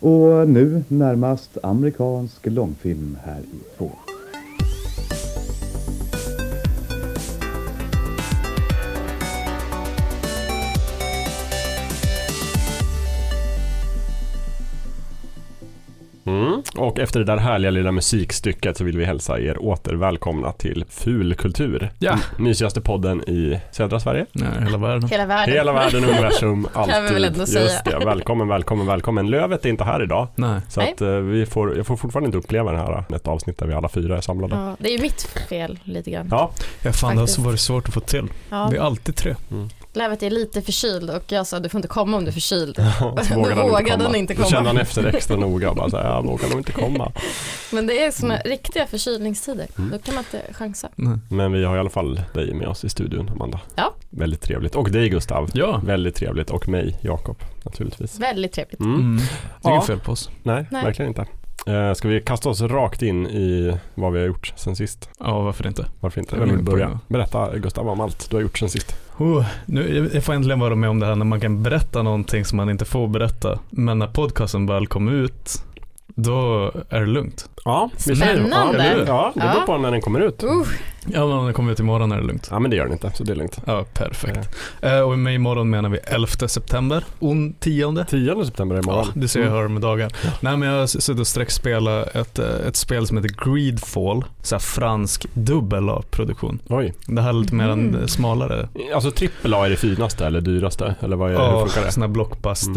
Och nu närmast amerikansk långfilm här i två. Mm. Och efter det där härliga lilla musikstycket så vill vi hälsa er åter välkomna till Fulkultur. Ja. Mysigaste podden i södra Sverige. Mm. Nej, hela världen. Hela världen. Mm. Hela världen, universum, alltid. vi väl ändå Just säga. det, välkommen, välkommen, välkommen. Lövet är inte här idag. Nej. Så Nej. att, eh, vi får, jag får fortfarande inte uppleva den här, eh, ett avsnitt där vi alla fyra är samlade. Ja, det är ju mitt fel lite grann. Ja, Ja, fan, det har Faktiskt. så varit svårt att få till. Ja. Det är alltid tre. Lävet är lite förkyld och jag sa du får inte komma om du är förkyld. så vågade han vågade inte komma. han inte Då komma. kände han efter extra noga och bara så här, jag vågar nog inte komma. Men det är såna riktiga förkylningstider. Mm. Då kan man inte chansa. Nej. Men vi har i alla fall dig med oss i studion, Amanda. Ja. Väldigt trevligt. Och dig, Gustav. Ja. Väldigt trevligt. Och mig, Jakob, naturligtvis. Väldigt trevligt. Mm. Mm. Det Ja. är inget fel på oss. Nej, Nej. verkligen inte. Eh, Ska vi kasta oss rakt in i vad vi har gjort sen sist? Ja, varför inte? Varför inte? Jag Vem vill vill börja? börja. Berätta Gustav om allt du har gjort sen sist. Oh, nu, jag får äntligen vara med om det här när man kan berätta någonting som man inte får berätta. Men när podcasten väl kom ut, då är det lugnt. Ja, vi säger så. Spännande. Ja, det- ja, det beror Ja. på när den kommer ut. Uh, Ja, men om den kommer ut imorgon är det lugnt. Ja, men det gör den inte, så det är lugnt. Ja, perfekt. Eh, och med imorgon menar vi 11 september. On 10. 10 september är Ja, imorgon. du ser jag hör med dagar. Nej men jag har s- suttit och sträckspelat ett, eh, ett spel som heter Greedfall. Så här fransk dubbel A-produktion. Oj. Det här är lite mer en Mm. eh, smalare. Alltså trippel A är det finaste eller dyraste? Eller vad är det? Hur Ja, funkar det? sån här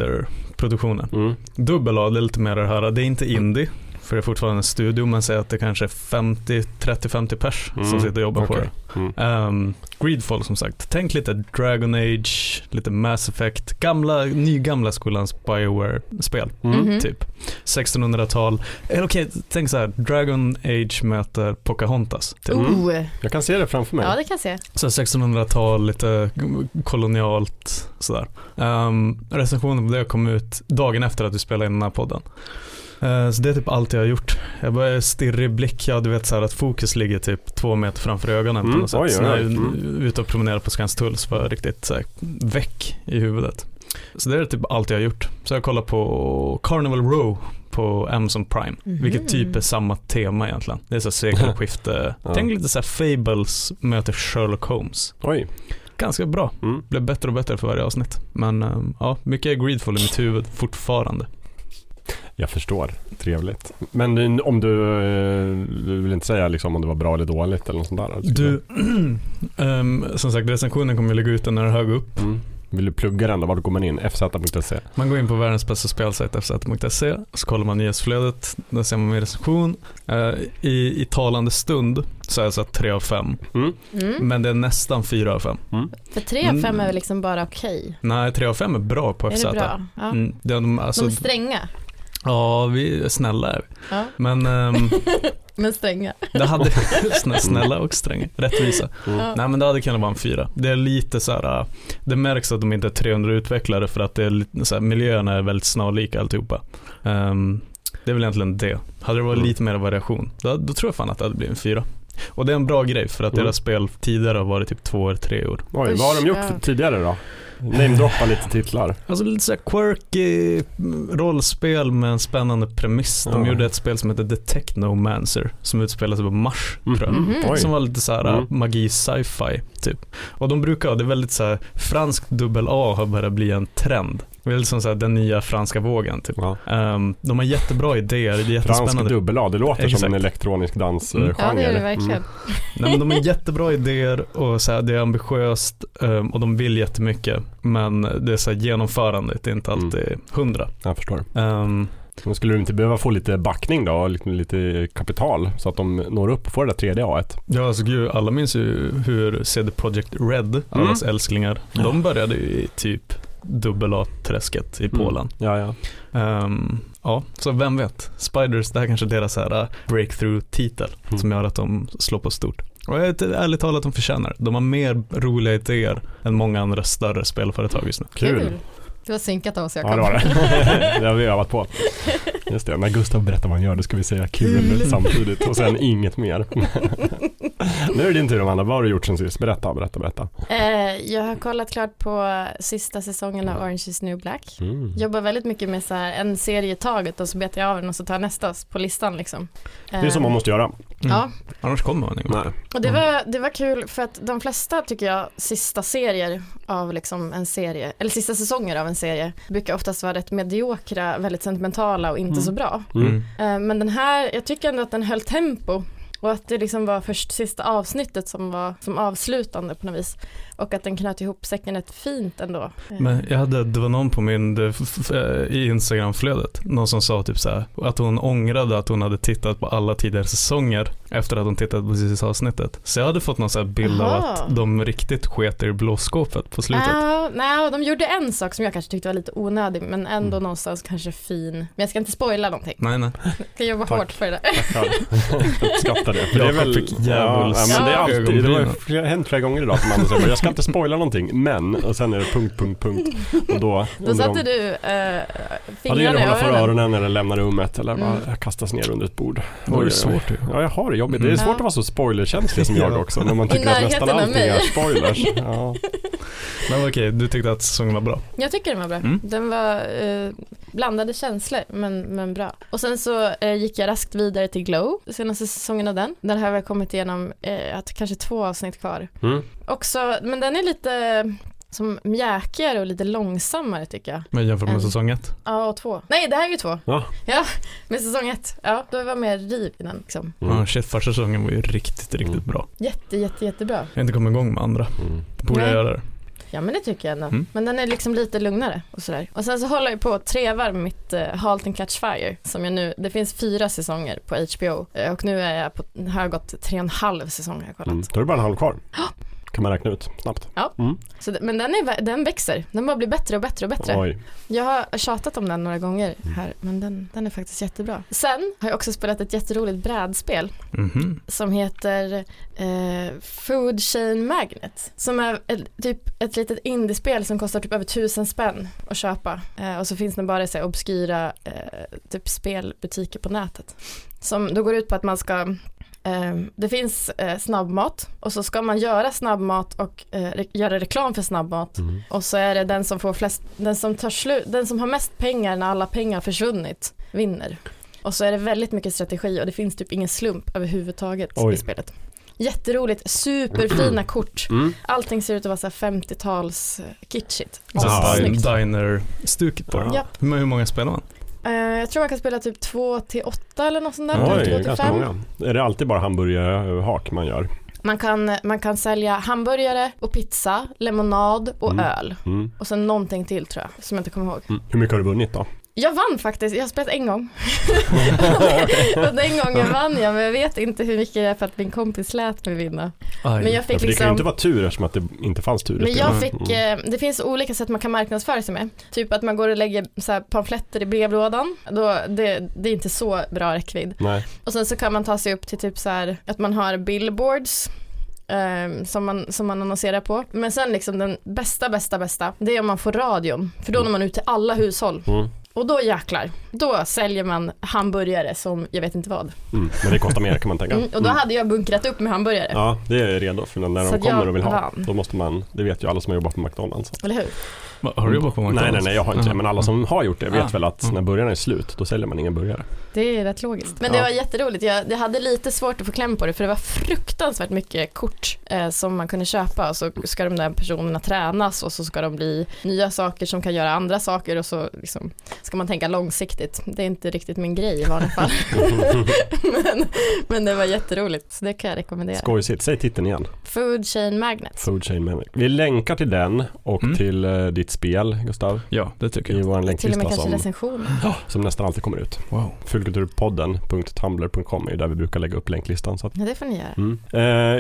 blockbuster-produktionen. Mm. Dubbel A, det är lite mer det här, det är inte indie. För det är fortfarande en studio, men säg att det kanske är 50, 30-50 pers Mm, som sitter och jobbar på okej. det. Mm. Ehm, Greedfall som sagt. Tänk lite Dragon Age, lite Mass Effect, gamla, nygamla skolans Bioware-spel. Mm. Mhm. Typ 1600-tal. Eller okej, tänk så här. Dragon Age möter Pocahontas. Typ. Mm. uh. Jag kan se det framför mig. Ja, det kan jag se. Så 1600-tal, lite kolonialt sådär. Um, recensionen på det kom ut dagen efter att vi spelade in den här podden. Eh, så det är typ allt jag har gjort. Jag börjar stirrig blick, ja du vet så här att fokus ligger typ två meter framför ögonen på Mm, något sätt. oj, så oj, när jag oj. är Mm. ute och promenerar på Skanstull så var jag riktigt så här, väck i huvudet. Så det är typ allt jag har gjort. Så jag kollar på Carnival Row på Amazon Prime. Vilket typ är samma tema egentligen. Det är så här sekelskifte. Ja. Tänk lite så här Fables möter Sherlock Holmes. Oj. Ganska bra. Mm. Blev bättre och bättre för varje avsnitt. Men ehm, ja, mycket är greedful i mitt huvud fortfarande. Jag förstår. Trevligt. Men eh, om du, eh, du vill inte säga liksom om det var bra eller dåligt eller något sånt där? Du, ehm, som sagt recensionen kommer jag lägga ut den när det hög upp. Mm. Vill du plugga den då? Vart går man in? fz.se? Man går in på världens bästa spelsajt fz.se, så kollar man nyhetsflödet, där ser man min recension. Eh, i, I talande stund så är det så att 3 av 5, Mm. Mm. men det är nästan 4 av 5. För 3 av 5 är väl liksom bara okej. Nej, 3 av 5 är bra på FZ. Är det bra? Ja. Mm, det är de, alltså, De är stränga. Ja, vi är snälla. är vi. Ja. Men ehm, Men stränga. det hade, snä- snälla och stränga, rättvisa. Mm. Ja. Nej men det hade kunnat vara en fyra. Det är lite så här, äh, det märks att de inte är 300 utvecklare för att det är lite, så här, miljöerna är väldigt snarlika alltihopa. Ehm, det är väl egentligen det. Hade det varit Mm. lite mer variation, då, då tror jag fan att det hade blivit en fyra. Och det är en bra grej för att Mm. deras spel tidigare har varit typ två år, tre år. Oj, Usch, vad har de gjort ja. för- tidigare då? Namedroppa lite titlar. Alltså lite såhär quirky mm, rollspel med en spännande premiss. De Ja. gjorde ett spel som heter The Technomancer som utspelar sig på Mars Mm. tror jag. Mhm. Oj. Som var lite såhär Mm. magi sci-fi typ. Och de brukar, det är väldigt såhär, fransk dubbel A har börjat bli en trend. Det är liksom såhär den nya franska vågen typ. Ja. Ehm, de har jättebra idéer, det är Fransk jättespännande. dubbel-A, det låter som Exakt. en elektronisk dansgenre. Mm. Ja, det är det verkligen. Mm. Nej, men de har jättebra idéer och såhär, det är ambitiöst ehm, och de vill jättemycket. Men det är såhär genomförandet, det är inte Mm. alltid hundra. Jag förstår. Ehm, Men skulle du inte behöva få lite backning då, lite, lite kapital så att de når upp och får det där tredje A-et? Ja, alltså gud, alla minns ju hur CD Projekt Red, Mm. allas älsklingar, de började ju i typ dubbel A-träsket Mm. i Polen. Ja, ja. Ehm, ja, så vem vet? Spiders, det här kanske är deras så här äh, breakthrough-titel Mm. som gör att de slår på stort. Och jag är ärligt talat, de förtjänar det. De har mer roliga idéer än många andra större spelföretag just nu. Kul. Det var synkat av oss, Ja, det Jakob. var det. det har vi övat på. Just det, när Gustav berättar vad han gör då ska vi säga Mm. kul samtidigt och sen inget mer. nu är det din tur Amanda, vad har du gjort sen sist? Berätta, berätta, berätta. Eh, jag har kollat klart på sista säsongen av Orange is new black. Mm. Jobbar väldigt mycket med så här en serie i taget och så betar jag av den och så tar jag nästa på listan liksom. Det är så man måste Mm. göra. Ja, Mm. Annars kommer man ingen Nej. och det var, det var kul för att de flesta tycker jag sista serier av liksom en serie, eller sista säsonger av en serie brukar oftast vara rätt mediokra, väldigt sentimentala och inte Mm. så bra. Mm. Eh, Men den här, jag tycker ändå att den höll tempo och att det liksom var först sista avsnittet som var som avslutande på något vis. Och att den knöt ihop säcken rätt fint ändå. Eh, Men jag hade, det var någon på min, det- f- f- eh, i Instagram-flödet, någon som sa typ så här, att hon ångrade att hon hade tittat på alla tidigare säsonger efter att hon tittat på sista avsnittet. Så jag hade fått någon så här bild av Aha. Ah. att de riktigt sketer i blåskåpet på slutet. Ja, nej, de gjorde en sak som jag kanske tyckte var lite onödig men ändå Mm. någonstans kanske fin. Men jag ska inte spoila någonting. Nej nej. Jag ska jobba Tack. hårt för det där. Tackar. Uppskattar det. För det är väl, Jakob fick ja, djävuls- ja, men det är alltid, det har ju ögonbrynen. flera- hänt flera gånger idag som Anders säger, jag ska inte spoila någonting, men, och sen är det punkt, punkt, punkt. Och då, Då satte du eh, Ja, det gäller fingrarna att i hålla för öronen. öronen eller lämna rummet eller bara Mm. kastas ner under ett bord. Det var ju Oj, svårt ju. Ja, jag har det jobbigt. Det är Mm. svårt Ja. att vara så spoilerkänslig som jag Ja. också, när man tycker att nästan närheten av allting mig. är spoilers. Ja. Men okej, du tyckte att säsongen var bra. Jag tycker den var bra. Mm. Den var eh, blandade känslor men, men bra. Och sen så eh, gick jag raskt vidare till Glow, senaste säsongen av den. Där har jag kommit igenom eh, att kanske två avsnitt kvar. Mm. Också, men den är lite eh, som mjäkigare och lite långsammare tycker jag. Men jämfört med Mm. säsong ett. Ja, och två. Nej, det här är ju två. Ja. ja med säsong ett. Ja, då var jag mer riv i den liksom. Mm. Ja, Ah, shit, första säsongen var ju riktigt, riktigt Mm. bra. Jätte, jätte, jättebra. Jag har inte kommit igång med andra. Mm. Borde Nej. jag göra det? Ja men det tycker jag ändå. Mm. Men den är liksom lite lugnare och sådär. Och sen så håller jag på och trevar med mitt eh, Halt and Catch Fire som jag nu, det finns fyra säsonger på HBO eh, och nu är jag på, har jag gått tre och en halv säsong har jag kollat. Mm. Då är det bara en halv kvar. Kan man räkna ut snabbt. Så, det- men den, är, vä- den växer, den bara blir bättre och bättre och bättre. Oj. Mm. Jag har tjatat om den några gånger här men den, den är faktiskt jättebra. Sen har jag också spelat ett jätteroligt brädspel Mhm. som heter eh, Food Chain Magnet. Som är ett, typ ett litet indiespel som kostar typ över tusen spänn att köpa. Eh, och så finns den bara i så här obskyra eh, typ spelbutiker på nätet. Som då går ut på att man ska eh, det finns eh, snabbmat och så ska man göra snabbmat och eh, re- göra reklam för snabbmat Mm. och så är det den som får flest, den som tar slut, den som har mest pengar när alla pengar har försvunnit vinner. Och så är det väldigt mycket strategi och det finns typ ingen slump överhuvudtaget Oj. i spelet. Jätteroligt, superfina kort. Mm. Allting ser ut att vara så här 50-tals eh, kitschigt. Så Ja, din- Snyggt. Diner-stuket på den. Ja. Men hur många spelar man? Eh, jag tror man kan spela typ 2 till 8 eller något sånt där. Oj, Oj, 2 till ganska 5. många. Är det alltid bara hamburgerhak man gör? Man kan, man kan sälja hamburgare och pizza, lemonad och Mm. öl. Mm. Och sen någonting till tror jag, som jag inte kommer ihåg. Mm. Hur mycket har du vunnit då? Jag vann faktiskt, jag har spelat en gång. och den gången vann jag, men jag vet inte hur mycket det är för att min kompis lät mig vinna. Aj. Men jag Ja, fick för Alltså, det kan ju inte liksom vara tur eftersom att det inte fanns tur. i men jag spelet. Mm. fick, eh, det finns olika sätt man kan marknadsföra sig med. Typ att man går och lägger så här pamfletter i brevlådan. Då, det, det är inte så bra räckvidd. Nej. Och sen så kan man ta sig upp till typ så här att man har billboards eh, som, man, som man annonserar på. Men sen liksom den bästa, bästa, bästa, det är om man får radion. För då når man ut till alla hushåll. Mm. Och då jäklar, då säljer man hamburgare som jag vet inte vad. Mm. Men det kostar mer kan man tänka. Mm, och då Mm. hade jag bunkrat upp med hamburgare, Ja, det är redo för när Så de att jag kommer och vill ha. vann. Då måste man, det vet ju alla som har jobbat på McDonalds. eller hur? Va, Har du jobbat på McDonalds? Nej, nej, nej, jag har inte det. Aha. Men alla som har gjort det vet Ah. väl att Mm. när burgarna är slut, då säljer man ingen burgare. Det är rätt logiskt. Men det Ja. var jätteroligt, jag, jag hade lite svårt att få kläm på det för det var fruktansvärt mycket kort eh, som man kunde köpa och så ska de där personerna tränas och så ska de bli nya saker som kan göra andra saker och så liksom, ska man tänka långsiktigt. Det är inte riktigt min grej i vanliga fall. men, men det var jätteroligt, så det kan jag rekommendera. Skojsigt. Säg titeln igen. Food Chain Magnet. Food Chain Manic. Vi länkar till den och Mm. till eh, ditt spel, Gustav. Ja, det tycker I jag. vår Till och länklista med kanske som, recension. som nästan alltid kommer ut. Wow. Fullkulturpodden.tumblr.com är ju där vi brukar lägga upp länklistan. Så att Ja, det får ni göra. Mm. Eh,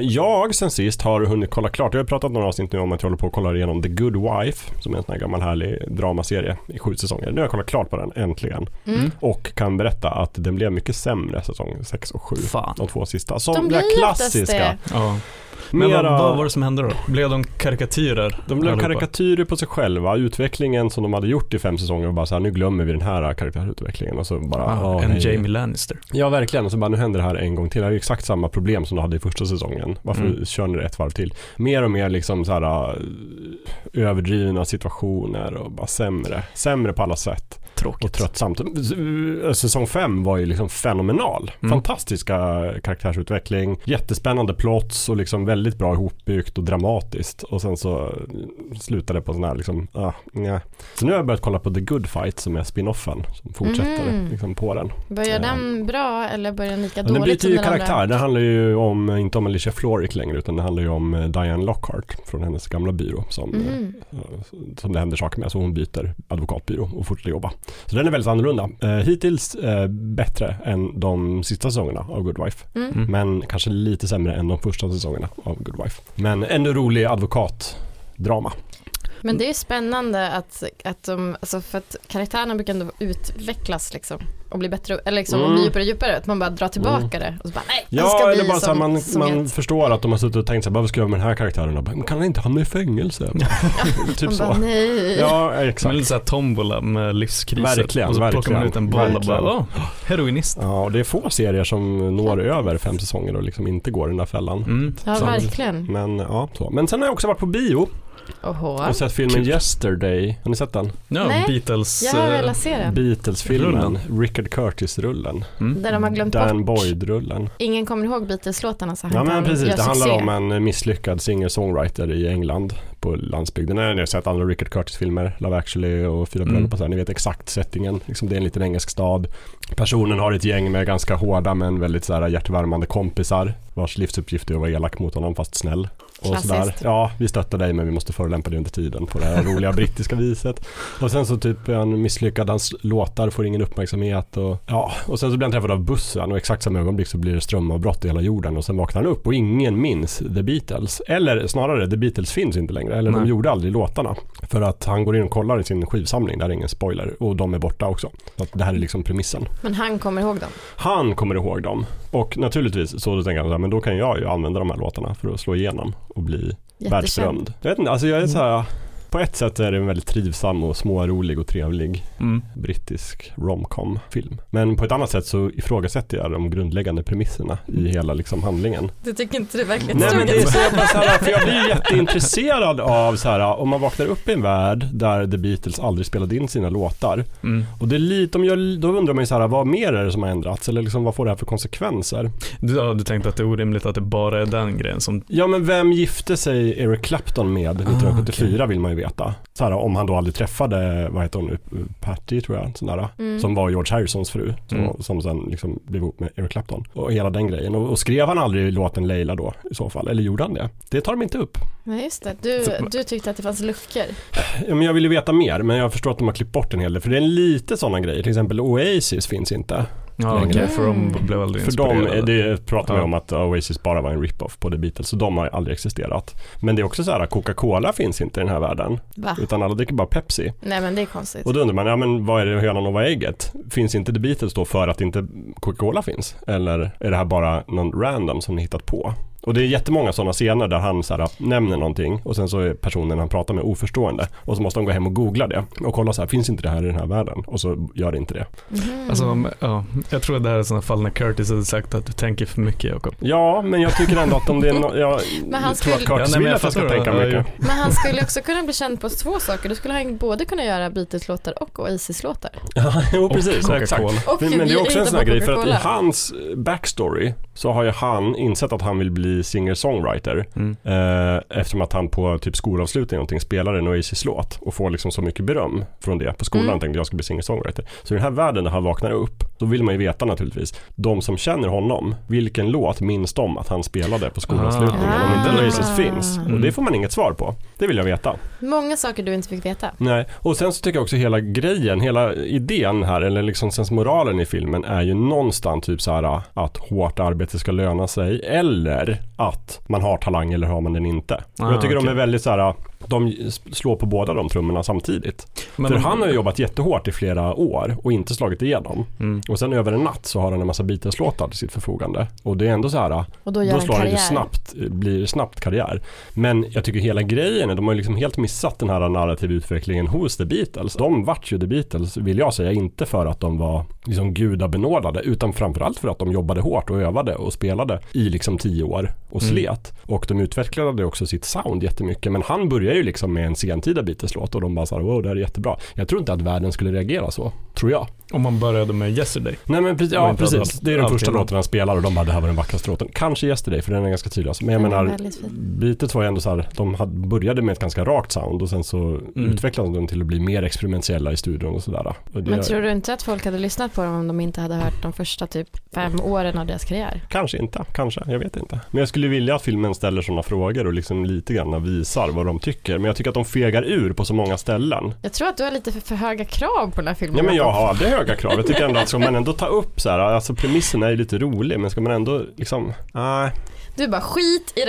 jag sen sist har hunnit kolla klart, jag har pratat några avsnitt nu om att jag håller på att kolla igenom The Good Wife, som är en sån här gammal härlig dramaserie i sju säsonger. Nu har jag kollat klart på den, äntligen. Mm. Och kan berätta att den blev mycket sämre säsong 6 och 7. Fan. De två sista, De som blir det ju oftast eh, klassiska. det. Ja. Men Mera- vad, vad var det som hände då? Blev de karikatyrer? De blev allihopa? karikatyrer på sig själva. Utvecklingen som de hade gjort i fem säsonger var bara så här, nu glömmer vi den här karaktärutvecklingen. Och så bara, Ah, "Ah, en nej." Jamie Lannister. Ja, verkligen. Och så bara, nu händer det här en gång till. Det här är ju exakt samma problem som de hade i första säsongen. Varför Mm. kör ni det ett varv till? Mer och mer liksom så här, eh, överdrivna situationer och bara sämre. Sämre på alla sätt Tråkigt. och tröttsamt. eh, Säsong 5 var ju liksom fenomenal. Mm. Fantastiska karaktärsutveckling, jättespännande plots och liksom väldigt bra ihopbyggt och dramatiskt. Och sen så eh, slutade det på sån här liksom, ah, nej. Så nu har jag börjat kolla på The Good Fight som är spinoffen som fortsätter Mhm. liksom på den. Börjar Eh. den bra eller börjar den lika Men den dåligt byter som ju den andra? karaktär, det handlar ju om, inte om Alicia Florrick längre utan det handlar ju om eh, Diane Lockhart från hennes gamla byrå som eh, Mhm. som det händer saker med. Så hon byter advokatbyrå och fortsätter jobba. Så den är väldigt annorlunda. Eh, hittills eh, bättre än de sista säsongerna av Good Wife. Mm. Mm. Men kanske lite sämre än de första säsongerna av Good Wife. Men ännu rolig advokatdrama. Men det är ju spännande att, att de, alltså för att karaktärerna brukar ändå utvecklas liksom och bli bättre, eller liksom och Mm. bli djupare och djupare, att man bara drar tillbaka det och så bara nej, den ska Ja, eller bli bara så här, som, man, som man jag. förstår att de har suttit och tänkt så här, vad ska jag göra med den här karaktären? Och bara, men kan han inte hamna i fängelse? typ man bara så. nej. Ja, Som en exakt. liten sån här tombola med livskriser. Verkligen, och så plockar man verkligen, ut en boll och verkligen. bara, åh, heroinist. Ja, och det är få serier som når över fem säsonger och liksom inte går i den där fällan. Mm. Ja, Så- verkligen. Men ja, så. Men sen har jag också varit på bio Oho. och sett filmen Kul. Yesterday. Har ni sett den? Ja, Nej, Beatles. Jag har eh, velat se den. Beatles-filmen, Rullen. Richard Curtis-rullen, mm. Där de har glömt Dan bort. Boyd-rullen. Ingen kommer ihåg Beatles-låtarna så Alltså, han Ja men kan precis, göra det handlar succé. om en misslyckad singer-songwriter i England på landsbygden. Nej, Ni har sett andra Richard Curtis-filmer, Love actually och Fyra Mm. bröder på så här. Ni vet exakt settingen. Liksom, det är en liten engelsk stad. Personen har ett gäng med ganska hårda men väldigt så här, hjärtvärmande kompisar vars livsuppgift är att vara elak mot honom fast snäll. Och Klassiskt. sådär. Ja, vi stöttar dig men vi måste förolämpa dig under tiden på det här roliga brittiska viset. Och sen så typ är han misslyckad, hans låtar får ingen uppmärksamhet och ja, och sen så blir han träffad av bussen och exakt samma ögonblick så blir det strömavbrott i hela jorden och sen vaknar han upp och ingen minns The Beatles. Eller snarare, The Beatles finns inte längre, eller de Nej. gjorde aldrig låtarna. För att han går in och kollar i sin skivsamling, där är ingen spoiler, och de är borta också. Så att det här är liksom premissen. Men han kommer ihåg dem. Han kommer ihåg dem. Och naturligtvis så då tänker han så här, men då kan jag ju använda de här låtarna för att slå igenom och bli Jättekänd. världsberömd. Jag vet inte, alltså jag är så här, på ett sätt är det en väldigt trivsam och smårolig och trevlig Mm. brittisk romcom-film. Men på ett annat sätt så ifrågasätter jag de grundläggande premisserna i hela liksom handlingen. Du tycker inte det verkar Nej men det är tråkigt? så jag bara så här, för jag blir ju jätteintresserad av så här, om man vaknar upp i en värld där The Beatles aldrig spelade in sina låtar Mm. och det är lite, de gör, då undrar man ju så här, vad mer är det som har ändrats eller liksom, vad får det här för konsekvenser? Du, ja, du tänkte att det är orimligt att det bara är den grejen som, Ja men vem gifte sig Eric Clapton med 1974 vill man ju veta. Så här, om han då aldrig träffade, vad heter hon nu, Patty tror jag, sån där, Mm. som var George Harrisons fru, som, Mm. som sen liksom blev ihop med Eric Clapton. Och hela den grejen. Och, och skrev han aldrig låten Leila då i så fall, eller gjorde han det? Det tar de inte upp. Nej just det, du, du tyckte att det fanns luckor. Ja, men jag vill ju veta mer, men jag förstår att de har klippt bort en hel del, för det är lite sådana grejer, till exempel Oasis finns inte. ja okej, Längre. för Mm. de blev aldrig För dem, inspirerade. är- det pratar vi Ja. om att Oasis bara var en rip-off på The Beatles, så de har aldrig existerat. Men det är också så här, Coca-Cola finns inte i den här världen. Va? Utan alla dricker bara Pepsi. Nej men det är konstigt. Och då undrar man, ja men vad är det hönan och vad är ägget? Finns inte The Beatles då för att inte Coca-Cola finns? Eller är det här bara någon random som ni hittat på? Och det är jättemånga sådana scener där han så här, nämner någonting och sen så är personen han pratar med oförstående. Och så måste de gå hem och googla det och kolla så här, finns inte det här i den här världen? Och så gör det inte det. Mhm. Alltså, om- ja, jag tror att det här är sådana fall när Curtis hade sagt att du tänker för mycket Jakob. Ja, men jag tycker ändå att om det är no- jag Men han tror att skulle- Curtis Ja, nej, men vill jag att jag ska fattar det. tänka Ja, mycket. Men han skulle också kunna bli känd på två saker. Då skulle han både kunna göra Beatles-låtar och Oasis-låtar. Ja, jo, precis. Och exakt. Coca-Cola. Och Men, men det är också en hitta sån här på grej för att i Coca-Cola. hans eh, backstory så har ju han insett att han vill bli singer-songwriter Mm. eh, eftersom att han på typ skolavslutning någonting spelar en Oasis-låt och får liksom så mycket beröm från det. På skolan Mm. tänkte jag ska bli singer-songwriter. Så i den här världen när han vaknar upp, då vill man ju veta naturligtvis, de som känner honom, vilken låt minns de att han spelade på skolavslutningen om inte Ah. Oasis finns? Och det Mm. får man inget svar på. Det vill jag veta. Många saker du inte fick veta. Nej, och sen så tycker jag också hela grejen, hela idén här, eller liksom sensmoralen i filmen är ju någonstans typ så här att hårt arbete ska löna sig eller att man har talang eller har man den inte. Och Ah, jag tycker de okej. är väldigt så här äh, de slår på båda de trummorna samtidigt. Men För han har ju jobbat jättehårt i flera år och inte slagit igenom. Mm. Och sen över en natt så har han en massa Beatles-låtar till sitt förfogande. Och det är ändå så här, äh, Och då gör då han slår han ju karriär. snabbt, eh, blir snabbt karriär. Men jag tycker hela grejen, är- de har ju liksom helt missat den här narrativa utvecklingen hos The Beatles. De vart ju The Beatles, vill jag säga, inte för att de var liksom gudabenådade, utan framförallt för att de jobbade hårt och övade och spelade i liksom tio år och Mm. slet. Och de utvecklade också sitt sound jättemycket, men han börjar ju liksom med en sentida Beatles-låt och de bara så här, wow, det här är jättebra. Jag tror inte att världen skulle reagera så, tror jag. Om man började med Yesterday. Nej men precis, Och ja, inte precis. allt- det är den allting. första låten han spelar och de bara det här var den vackraste låten. Kanske Yesterday för den är ganska tydlig. alltså. Men jag Den är menar, väldigt fin. Beatles var ju ändå så här, de hade, började med ett ganska rakt sound och sen så Mm. utvecklades de till att bli mer experimentella i studion och sådär. Och det- Men tror du inte att folk hade lyssnat på dem om de inte hade hört de första typ fem åren av deras karriär? Kanske inte, kanske, jag vet inte. Men jag skulle vilja att filmen ställer sådana frågor och liksom lite grann visar vad de tycker. Men jag tycker att de fegar ur på så många ställen. Jag tror att du har lite för, för höga krav på den här filmen. Ja men jag har aldrig höga krav. Jag tycker ändå att ska man ändå ta upp så här, alltså premissen är ju lite rolig men ska man ändå liksom, nej. Du bara skit i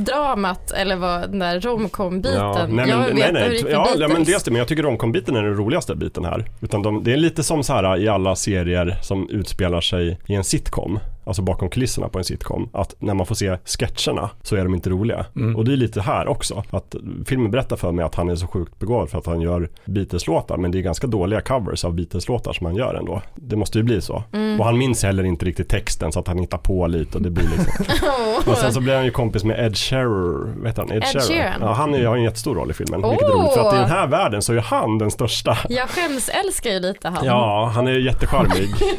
relationsdramat eller vad den där romcom-biten. Ja, nej, men, jag vet nej, hur det nej, gick för ja, ja, Beatles. men dels det, men jag tycker romcombiten är den roligaste biten här. Utan de, det är lite som så här i alla serier som utspelar sig i en sitcom, alltså bakom kulisserna på en sitcom, att när man får se sketcherna så är de inte roliga. Mm. Och det är lite här också, att filmen berättar för mig att han är så sjukt begåvad för att han gör Beatles-låtar, men det är ganska dåliga covers av Beatles-låtar som han gör ändå. Det måste ju bli så. Mm. Och han minns heller inte riktigt texten så att han hittar på lite och det blir liksom och sen så blir han ju kompis med Ed Sheerar, vet han? Ed, Ed Sheeran. Ja, han är, har ju en jättestor roll i filmen, vilket är Åh! roligt. För att i den här världen så är ju han den största. Jag skämsälskar ju lite han. Ja, han är ju jättecharmig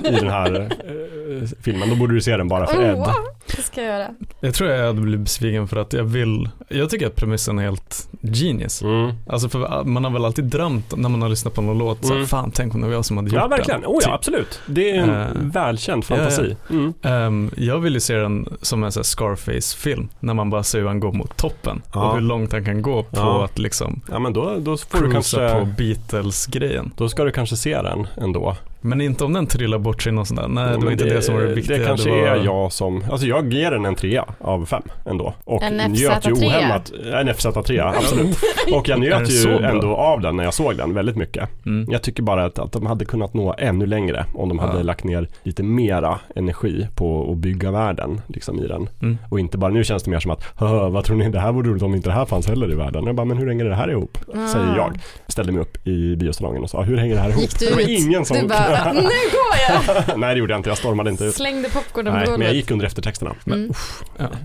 i den här eh, filmen. Då borde du se den bara för Ed. Oh, det ska jag göra. Jag tror jag hade blivit besviken för att jag vill, jag tycker att premissen är helt genius. Mm. Alltså för man har väl alltid drömt när man har lyssnat på någon låt, så här, Mm. fan tänk om det var jag som hade gjort Ja, verkligen. den. Oh, ja, Typ. absolut. Det är en Eh, välkänd ja, ja. fantasi. Mm. Ehm, jag vill ju se den som en så här Scarface-film, när man bara ser hur han går mot toppen Ja. och hur långt han kan gå på Ja. att liksom Ja, men då, då får du cruisa på kanske... Beatles-grejen. Då ska du kanske se den ändå. Men inte om den trillar bort sig någon sån där, nej Ja, Eh, det var men inte det, som var det viktiga. Det kanske var- är jag som, alltså jag ger den en trea av fem ändå. Och En njöt ju FZ3. ohämmat, en FZ3 absolut. Och jag Är den njöt så ju bra? ändå av den när jag såg den väldigt mycket. Mm. Jag tycker bara att, att de hade kunnat nå ännu längre om de hade Ja. lagt ner lite mera energi på att bygga världen liksom i den. Mm. Och inte bara, nu känns det mer som att, "Haha, vad tror ni, det här vore roligt om inte det här fanns heller i världen. Jag bara, men hur hänger det här ihop? Säger jag. Ställde mig upp i biosalongen och sa, hur hänger det här ihop? Ah. Gick du det var ut? ingen som... Du bara, nu går jag! Nej det gjorde jag inte, jag stormade inte ut. Slängde popcornen Nej, på men jag golvet. gick under eftertexterna. Mm.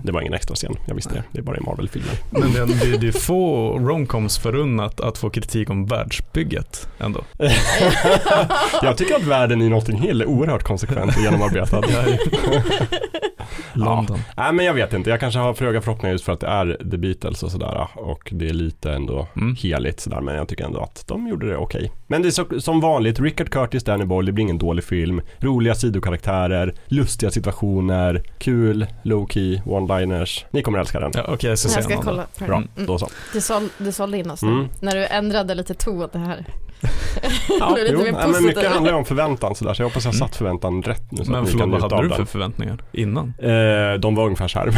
Det var ingen extra scen, jag visste det. Det är bara i Marvel-filmer. Men det, det, det är få romcoms förunnat att få kritik om världsbygget ändå. jag tycker att världen i Notting Hill är oerhört konsekvent och genomarbetad. London. Nej men jag vet inte, jag kanske har för höga förhoppningar just för att det är The Beatles och sådär. Och det är lite ändå Mm. heligt sådär, men jag tycker ändå att de gjorde det okej. Men det är så, som vanligt, Richard Curtis, Danny Boyle, det blir ingen dålig film. Roliga sidokaraktärer, lustiga situationer, kul, low-key, one-liners. Ni kommer älska den. Ja, Okej, jag ska säga Jag ska någon då. kolla. på den. Bra, Mm. då så. Du, såld, du sålde in oss nu, Mm. när du ändrade lite ton det här. Ja, Blev lite jo, mer nej, men positiv. mycket handlar ju om förväntan sådär, så jag hoppas jag Mm. satt förväntan rätt nu så Men att ni kan förlåt, vad njuta hade av du för den. förväntningar innan? Eh, de var ungefär så här.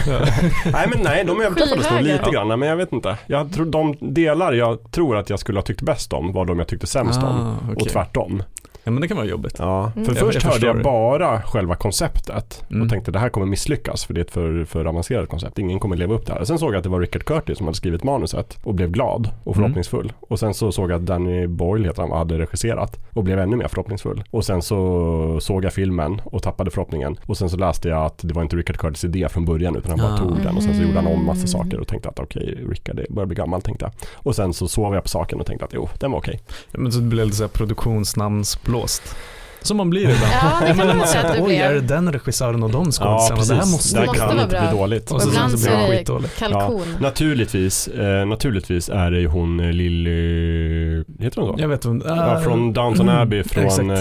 nej men nej, de överdrev faktiskt nog Skyhöga. lite grann, men jag vet inte. Jag tror de delar jag tror att jag skulle ha tyckt bäst om var de jag tyckte sämst om. Ah, okej. Och tvärtom. Ja, men det kan vara jobbigt. Ja. Mm. För Jag- först jag hörde förstår jag det. bara själva konceptet Mm. och tänkte det här kommer misslyckas för det är ett för, för avancerat koncept. Ingen kommer leva upp till det här. Sen såg jag att det var Richard Curtis som hade skrivit manuset och blev glad Mm. och förhoppningsfull. Och sen så såg jag att Danny Boyle heter han, hade regisserat och blev ännu mer förhoppningsfull. Och sen så såg jag filmen och tappade förhoppningen. Och sen så läste jag att det var inte Richard Curtis idé från början utan han bara Ah. tog den och sen så gjorde han om massa Mm. saker och tänkte att okej, Richard det börjar bli gammal tänkte jag. Och sen så sov jag på saken och tänkte att jo, den var okej. Ja, Men så blir det lite så här produktionsnamnsblåst. Som man blir ibland. Ja, det kan men man man säga säger, att du Oj, är det blev. den regissören och de skådisarna? det här måste det måste kan vara inte bra. bli dåligt. Och så, sen Ibland så så blir det är det- skitdåligt. Kalkon. Naturligtvis, eh, naturligtvis är det ju hon eh, Lily, heter hon så? Jag vet inte. Ja, från Downton Abbey, mm, exakt. från eh,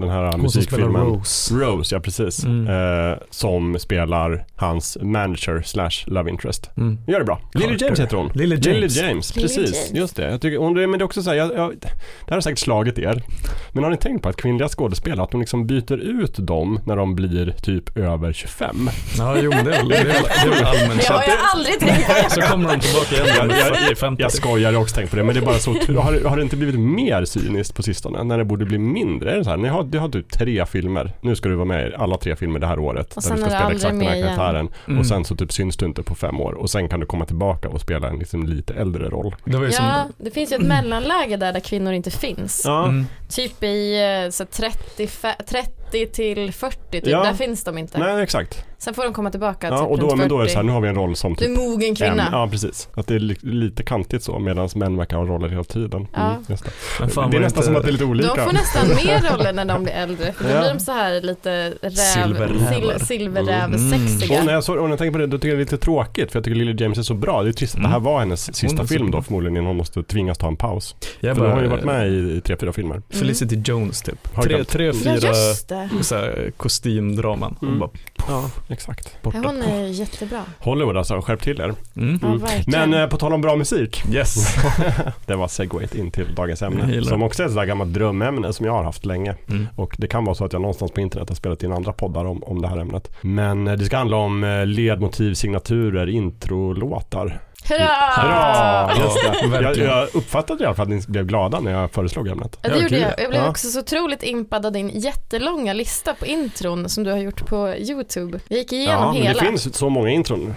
den här Hon som spelar musikfilmen. Rose. Rose, ja precis. Mm. Eh, som spelar hans manager slash love interest. Mm. Gör det bra. Lily Carter. James heter hon. Lily James. Lily James, Lily precis. James. Just det. Jag tycker, hon, men det är också så här, jag, jag, det här har säkert slagit er. Men har ni tänkt på att kvinnliga kvinnliga skådespel, att de liksom byter ut dem när de blir typ över 25. Ja, jo men det är väl, det är väl, det är väl allmänt Det har jag aldrig tänkt på. Så kommer de tillbaka igen Jag- jag- i 50. Jag skojar, jag har också tänkt på det, men det är bara så, har, har det inte blivit mer cyniskt på sistone? När det borde bli mindre? Är det så här, ni har, du har typ tre filmer, nu ska du vara med i alla tre filmer det här året, Och där sen du ska är det spela exakt aldrig den här mer igen. karaktären, Mm. och sen så typ syns du inte på fem år, och sen kan du komma tillbaka och spela en liksom lite äldre roll. Det var ju som... Ja, det finns ju ett mellanläge där, där kvinnor inte finns. Ja, Mm. Typ i eh, så 30, fe- 30 till 40, typ. Ja. där finns de inte. nej exakt. Sen får de komma tillbaka Ja, typ och då, runt men då är det 40. så här, nu har vi en roll som Du typ är mogen kvinna. En, ja, precis. Att det är li- lite kantigt så, medan män verkar ha roller hela tiden. Ja. Mm, just det. Men fan det var är nästan inte- som att det är lite olika. De får nästan mer roller när de blir äldre för då Ja. blir de så här lite räv, Silverrävar. sil, silverrävsexiga. Och när, jag såg, och när jag tänker på det, då tycker jag det är lite tråkigt för jag tycker Lily James är så bra. Det är trist att Mm. det här var hennes sista var så film då bra. förmodligen innan hon måste tvingas ta en paus. Jag För bara- hon har ju varit med i, i tre, fyra filmer. Felicity Jones typ. Har Tre, glömt. tre Mm. Ja fyra just det. så här, kostymdraman. Hon Mm. bara Ja, exakt. Ja, borta. hon är jättebra. Hollywood alltså, skärp till er. Mm. Ja, Mm. verkligen. Men eh, på tal om bra musik. Yes. Det var segwayt in till dagens Jag ämne. gillar Som det. också är ett sådär gammalt drömämne som jag har haft länge. Mm. Och det kan vara så att jag någonstans på internet har spelat in andra poddar om, om det här ämnet. Men eh, det ska handla om eh, ledmotiv, signaturer, introlåtar. Hurra! Bra! Ah. Ja, Just det. Jag, verkligen. jag uppfattade i alla fall att ni blev glada när jag föreslog ämnet. Ja, det gjorde kul. jag. Jag blev Ja. också så otroligt impad av din jättelånga lista på intron som du har gjort på YouTube. Jag gick igenom men hela. det finns så många intron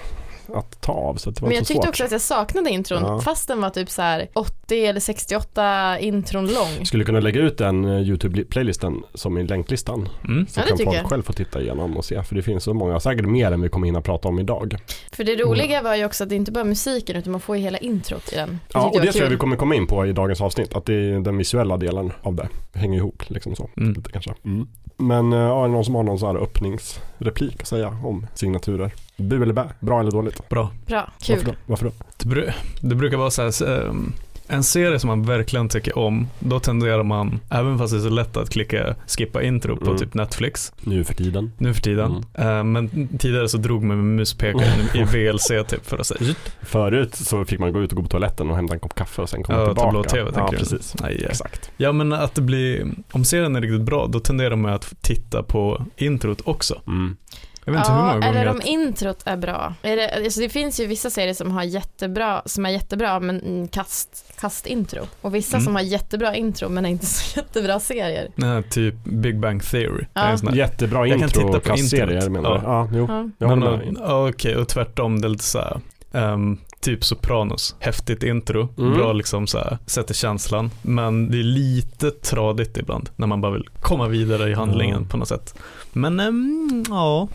att ta av så att det var Men jag inte så tyckte svårt. också att jag saknade intron Ja. fast den var typ så här 80 eller 68 intron lång. Jag skulle kunna lägga ut den eh, YouTube-playlisten som i länklistan. Mm. Så Ja, det kan tycker folk jag. själv få titta igenom och se. För det finns så många, säkert mer än vi kommer hinna prata om idag. För det roliga var ju också att det inte bara är musiken utan man får ju hela introt i den. Det Ja, tyckte och det var tror jag vi kul. kommer komma in på i dagens avsnitt. Att det är den visuella delen av det hänger ihop. Liksom så. Mm. Lite kanske. Men eh, ja, är det någon som har någon så här öppningsreplik att säga om signaturer? Bu eller bä? Bra eller dåligt? Bra. Bra, Varför kul. då? Varför då? Det, bru- det brukar vara så här, så, ehm, en serie som man verkligen tycker om, då tenderar man, även fast det är så lätt att klicka skippa intro på Mm. typ Netflix Nu för tiden. nu för tiden. Mm. Eh, men tidigare så drog man med muspekaren Oh. i VLC typ för att säga, Förut så fick man gå ut och gå på toaletten och hämta en kopp kaffe och sen komma Ja, tillbaka. tablå-tv Ja, tänker jag. precis. nej. eh." Exakt. Ja men att det blir, om serien är riktigt bra då tenderar man att titta på introt också. Mm. Jag vet inte hur många gånger eller jag om introt är bra. Är det, alltså det finns ju vissa serier som, har jättebra, som är jättebra men mm, kast, kastintro. Och vissa Mm. som har jättebra intro men är inte så jättebra serier. Den här typ Big Bang Theory. Ja. är en sån här- Jättebra Jag kan intro titta och på kastserier introt. menar du? Ja. Ja, eh, jo. Ja. Jag Men, håller med. och- ja, Okej, och tvärtom det är lite så här, ehm, typ Sopranos, häftigt intro, Mm. bra liksom så här, sätter känslan. Men det är lite tradigt ibland när man bara vill komma vidare i handlingen Mm. på något sätt. Men ehm, ja,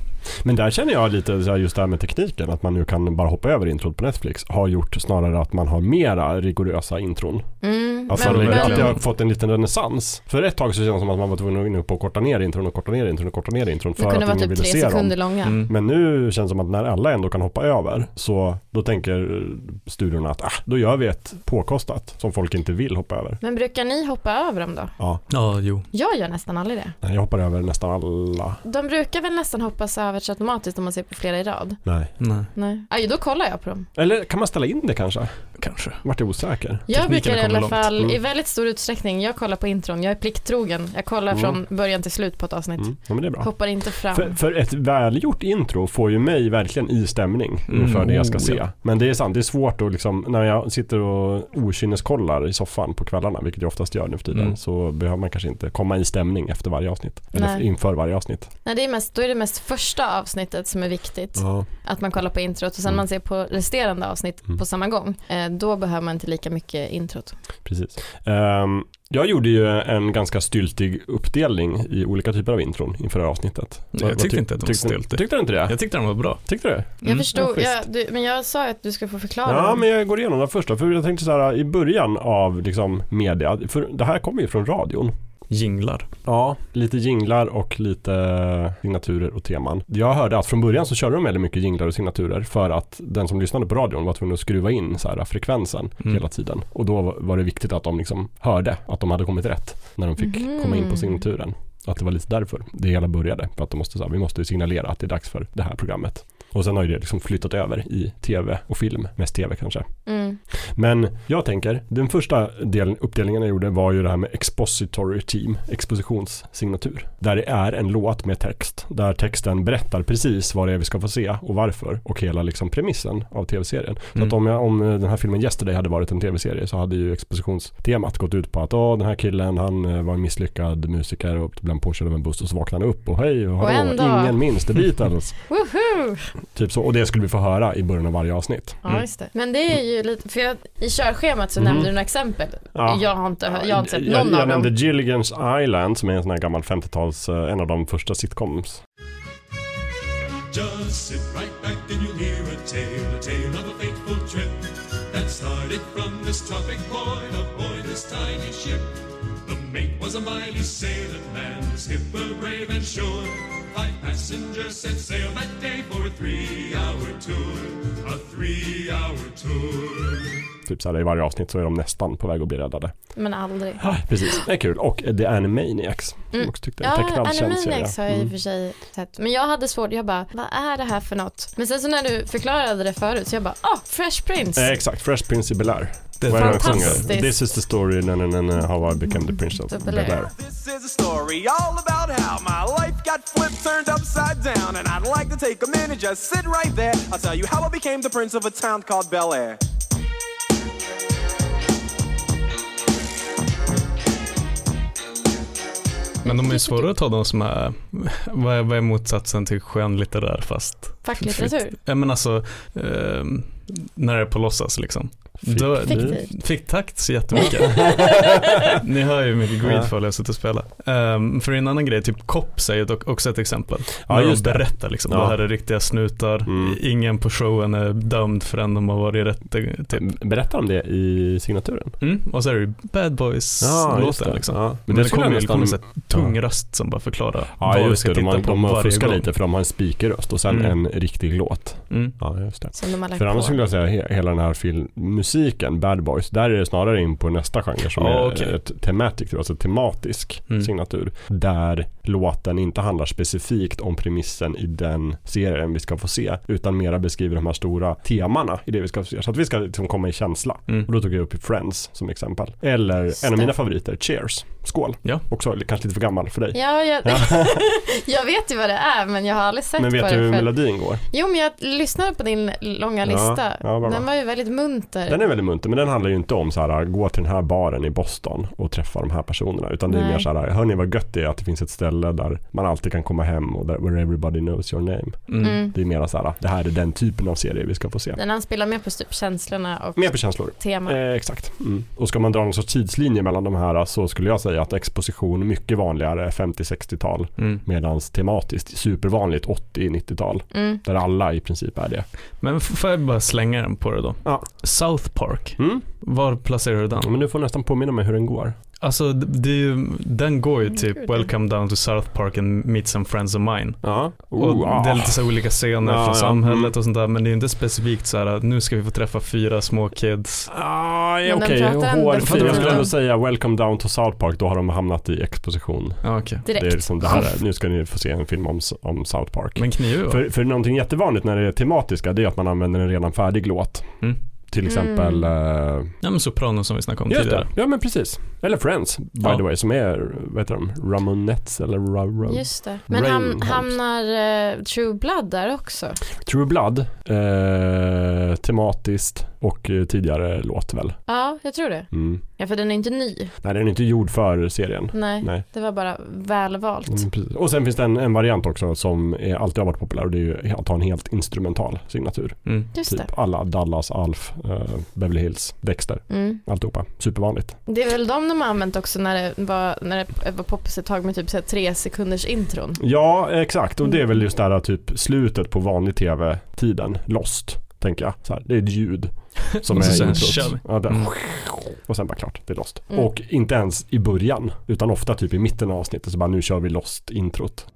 Men där känner jag lite så här, just det här med tekniken, att man nu kan bara hoppa över introt på Netflix, har gjort snarare att man har mera rigorösa intron. Mm, Alltså det men, är att det men, har fått en liten renässans. För ett tag så kändes det som att man var tvungen att gå in på att korta ner intron och korta ner intron och korta ner intron det för kunde att vara ingen typ ville tre se dem. sekunder långa. mm, Men nu känns det som att när alla ändå kan hoppa över så då tänker studiorna att ah, då gör vi ett påkostat som folk inte vill hoppa över. Men brukar ni hoppa över dem då? Ja, ja jo. Jag gör nästan aldrig det. nej, jag hoppar över nästan alla. De brukar väl nästan hoppas över sig automatiskt om man ser på flera i rad. Nej. Nej, Nej, Aj, då kollar jag på dem. Eller kan man ställa in det kanske? kanske. Vart är osäker. Jag Tekniken brukar i har kommit alla långt. fall Mm. i väldigt stor utsträckning, jag kollar på intron, jag är plikttrogen. Jag kollar Mm. från början till slut på ett avsnitt. Mm. Ja, men det är bra. Hoppar inte fram. För, för ett välgjort intro får ju mig verkligen i stämning Mm, inför det jag ska oh, se. ja. Men det är sant, det är svårt att liksom, när jag sitter och okynnesskollar i soffan på kvällarna, vilket jag oftast gör nu för tiden, Mm. så behöver man kanske inte komma i stämning efter varje avsnitt. Eller Nej. inför varje avsnitt. Nej, det är mest, då är det mest första avsnittet som är viktigt. Ja. Att man kollar på introt och sen Mm. man ser på resterande avsnitt Mm. på samma gång. Eh, då behöver man inte lika mycket introt. Precis. Ehm, jag gjorde ju en ganska styltig uppdelning i olika typer av intron inför det här avsnittet. Jag Vad- vad tyckte tyck- inte att de var tyckte- styltig. Tyckte du inte det? Jag tyckte den var bra. Tyckte du? jag Mm, förstod, ja, jag, du, men jag sa ju att du ska få förklara. Ja, dem. men jag går igenom det första. För jag tänkte så här i början av liksom, media, för det här kommer ju från radion. Jinglar. Ja, lite jinglar och lite signaturer och teman. Jag hörde att från början så körde de väldigt mycket jinglar och signaturer för att den som lyssnade på radion var tvungen att skruva in så här frekvensen Mm. hela tiden. Och då var- var det viktigt att de liksom hörde att de hade kommit rätt när de fick Mhm. komma in på signaturen. Att det var lite därför det hela började. För att de måste, så här, vi måste signalera att det är dags för det här programmet. Och sen har ju det liksom flyttat över i tv och film, mest tv kanske. Mm. Men jag tänker, den första delen, uppdelningen jag gjorde var ju det här med expository team, expositionssignatur. Där det är en låt med text, där texten berättar precis vad det är vi ska få se och varför och hela liksom premissen av tv-serien. Så Mm. att om, jag, om eh, den här filmen Yesterday hade varit en tv-serie så hade ju expositionstemat gått ut på att åh, den här killen han eh, var en misslyckad musiker och blev påkörd av en buss och så vaknade han upp och hej och Och hallå, en dag. ingen minns The Beatles. Woohoo! typ så, och det skulle vi få höra i början av varje avsnitt. Ja, just det. Men det är ju lite, för jag, i körschemat så Mm. nämnde du några exempel. Ja. Jag har inte, hö- jag har inte sett jag, någon jag av dem. nämnde Gilligan's Island som är en sån här gammal 50-tals, eh, en av de första sitcoms. Just sit right back and you'll hear a tale, a tale of a fateful trip that started from this tropic point aboard this tiny ship. The mate was a mighty sailor man, the skipper brave and sure. Five passengers set sail that day for a three-hour tour, a three-hour tour. Typ så här, i varje avsnitt så är de nästan på väg att bli räddade. Men aldrig. Ah, precis, det är kul. Och eh, The Animaniacs. Som Mm. också tyckte en Ja, tecknad känd serie. Animaniacs har jag i och Mm. för sig sett. Men jag hade svårt, jag bara, vad är det här för något? Men sen så när du förklarade det förut så jag bara, ah, Fresh Prince. Eh, exakt, Fresh Prince i Bel-Air. Det Vad är det han fantastiskt. sjunger? This is the story, na, na, na, na, how I became the prince of Of Bel-Air. Bel-Air. This is a story all about how my life got flipped, turned upside down. And I'd like to take a minute, just sit right there. I'll tell you how I became the prince of a town called Bel Air. Men de är ju svårare att ta de som är, vad är, vad är motsatsen till skönlitterär fast? Facklitteratur. Ja men alltså, ehm, när det är på låtsas liksom. Då- Mm. Fiktivt. Fick takt så jättemycket. Ni hör ju hur mycket Greedfall jag suttit och spelat. Um, för en annan grej, typ Kopp säger dock också ett exempel. Ja, när just de det. berättar liksom, Ja. det här är riktiga snutar, Mm. ingen på showen är dömd förrän de har varit i rätten. Mm. Typ. Eh, Berättar om det i signaturen? Mm. Och så är det ju Bad Boys-låten liksom. Ja. Men det, kommer ju jag nästan... en tung röst som bara förklarar Ja, just det. De har, de har varje fuskat gång. lite för de har en speakerröst och sen Mm. en riktig låt. Mm. Ja, just det. Som de har lagt För annars på. skulle jag säga he- hela den här film, musiken, Bad Boys, där är det snarare in på nästa genre som Ja, är eh, okej. ett tematic, alltså tematisk Mm. signatur. Där låten inte handlar specifikt om premissen i den serien vi ska få se, utan mera beskriver de här stora temana i det vi ska få se. Så att vi ska liksom komma i känsla. Mm. Och då tog jag upp Friends som exempel. Eller Just en av det. mina favoriter, Cheers. Skål. Ja. Också kanske lite för gammal för dig. Ja, jag, jag vet ju vad det är men jag har aldrig sett Men på vet det du hur själv. melodin går? Jo men jag lyssnade på din långa Ja, lista. ja, vad bra. den var ju väldigt munter. Den är väldigt munter, men den handlar ju inte om så här, gå till den här baren i Boston och träffa de här personerna. Utan det är Nej. mer så här, hör ni vad gött det är att det finns ett ställe där man alltid kan komma hem och där, where everybody knows your name. Mm. mm. Det är mer så här, det här är den typen av serie vi ska få se. Den anspelar mer på typ känslorna och Mer på känslor. teman. Eh, exakt. Mm. Och ska man dra någon sorts tidslinje mellan de här så skulle jag säga att exposition mycket vanligare 50-60-tal Mm. medan tematiskt supervanligt 80-90-tal Mm. där alla i princip är det. Men f- får jag bara slänga den på det då? Ja. South Park, Mm. var placerar du den? Men du får nästan påminna mig hur den går. Alltså d- det är ju, den går ju typ Gud. Welcome down to South Park and meet some friends of mine. Ja. och Oh, det är lite så här olika scener Ja, från ja, samhället mm. och sånt där men det är inte specifikt så här att nu ska vi få träffa fyra små kids. Ah, ja, Men de okej, pratar ändå hårfint. om- Jag skulle ändå säga welcome down to South Park, då har de hamnat i exposition. Ja okej. Direkt. Det är liksom det här, är- nu ska ni få se en film om, om South Park. Men kniv va? för, för någonting jättevanligt när det är tematiska, det är att man använder en redan färdig låt. Mm. Till exempel, eh, Ja men Sopranos som vi snackade om just det, tidigare. ja men precis. Eller Friends, by Ja. the way, som är, vad heter de, Ramonettes eller Ra Ra- Just det. Men Rain ham Homes. hamnar eh, True Blood där också? True Blood, eh, tematiskt och eh, tidigare låt väl. Ja, jag tror det. Mm. Ja, för den är inte ny. Nej, den är inte gjord för serien. Nej, Nej. det var bara välvalt. Mm, precis. och sen finns det en, en variant också som är, alltid har varit populär och det är ju att ha en helt instrumental signatur. Mm. Just det. Typ alla Dallas, Alf, eh, Beverly Hills, Dexter, Mm. alltihopa. Supervanligt. Det är väl de de har använt också när det var, när det var poppis ett tag med typ så här tre sekunders intron. Ja, exakt. Och det är väl just det här typ slutet på vanlig tv-tiden, Lost, tänker jag. Så här, det är ett ljud som Och så är sen introt. kör vi. Ja, där. Mm. Och sen bara klart, det är Lost. Mm. Och inte ens i början, utan ofta typ i mitten av avsnittet så bara nu kör vi Lost-introt.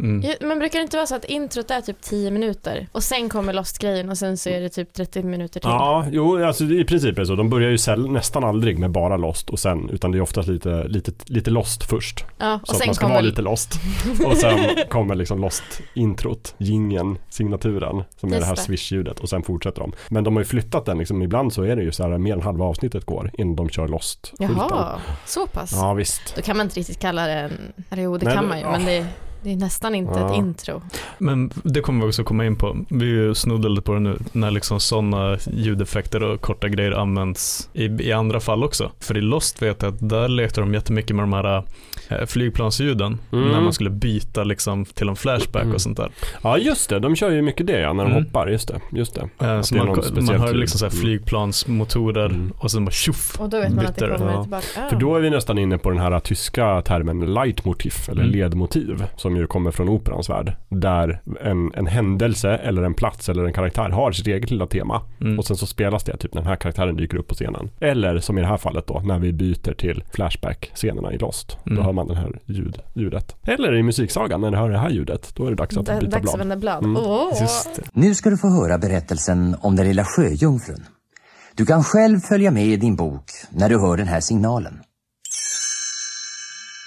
Mm. Ja, Men brukar det inte vara så att introt är typ 10 minuter och sen kommer Lost-grejen och sen så är det typ 30 minuter till? Ja, jo, alltså i princip är det så. De börjar ju säl- nästan aldrig med bara Lost och sen, utan det är oftast lite, lite, lite Lost först. Ja, och Så att sen man ska kommer... vara lite Lost. Och sen kommer liksom Lost-introt, gingen, signaturen, som är Just det här det. swish-ljudet och sen fortsätter de. Men de har ju flyttat den liksom, ibland så är det ju så här, mer än halva avsnittet går innan de kör Lost-skylten. Jaha, så pass. Ja, visst. Då kan man inte riktigt kalla det en... eller Jo, det Nej, kan det- man ju, ja. men det, det är nästan inte Ja. ett intro. Men det kommer vi också komma in på. Vi ju snuddade på det nu när liksom sådana ljudeffekter och korta grejer används i, i andra fall också. För i Lost vet jag att där lekte de jättemycket med de här eh, flygplansljuden Mm. när man skulle byta liksom till en flashback Mm. och sånt där. Ja, just det. De kör ju mycket det ja, när de Mm. hoppar. Just det. Just det. Eh, Att Så det är man, någon ko- man speciell hör ljud. liksom så här Mm. flygplansmotorer Mm. och sen bara tjoff. Och då vet man att det Byter, kommer ja. tillbaka. Ah, Ja. För då är vi nästan inne på den här tyska termen leitmotiv eller Mm. ledmotiv som ju kommer från operans värld. Där en, en händelse eller en plats eller en karaktär har sitt eget lilla tema. Mm. Och sen så spelas det typ när den här karaktären dyker upp på scenen. Eller som i det här fallet då när vi byter till Flashback-scenerna i Lost. Då Mm. hör man det här ljud, ljudet. Eller i Musiksagan när du hör det här ljudet. Då är det dags att Da- byta Dags att blad. vända blad. Mm. Åh. Just det. Nu ska du få höra berättelsen om den lilla sjöjungfrun. Du kan själv följa med i din bok när du hör den här signalen.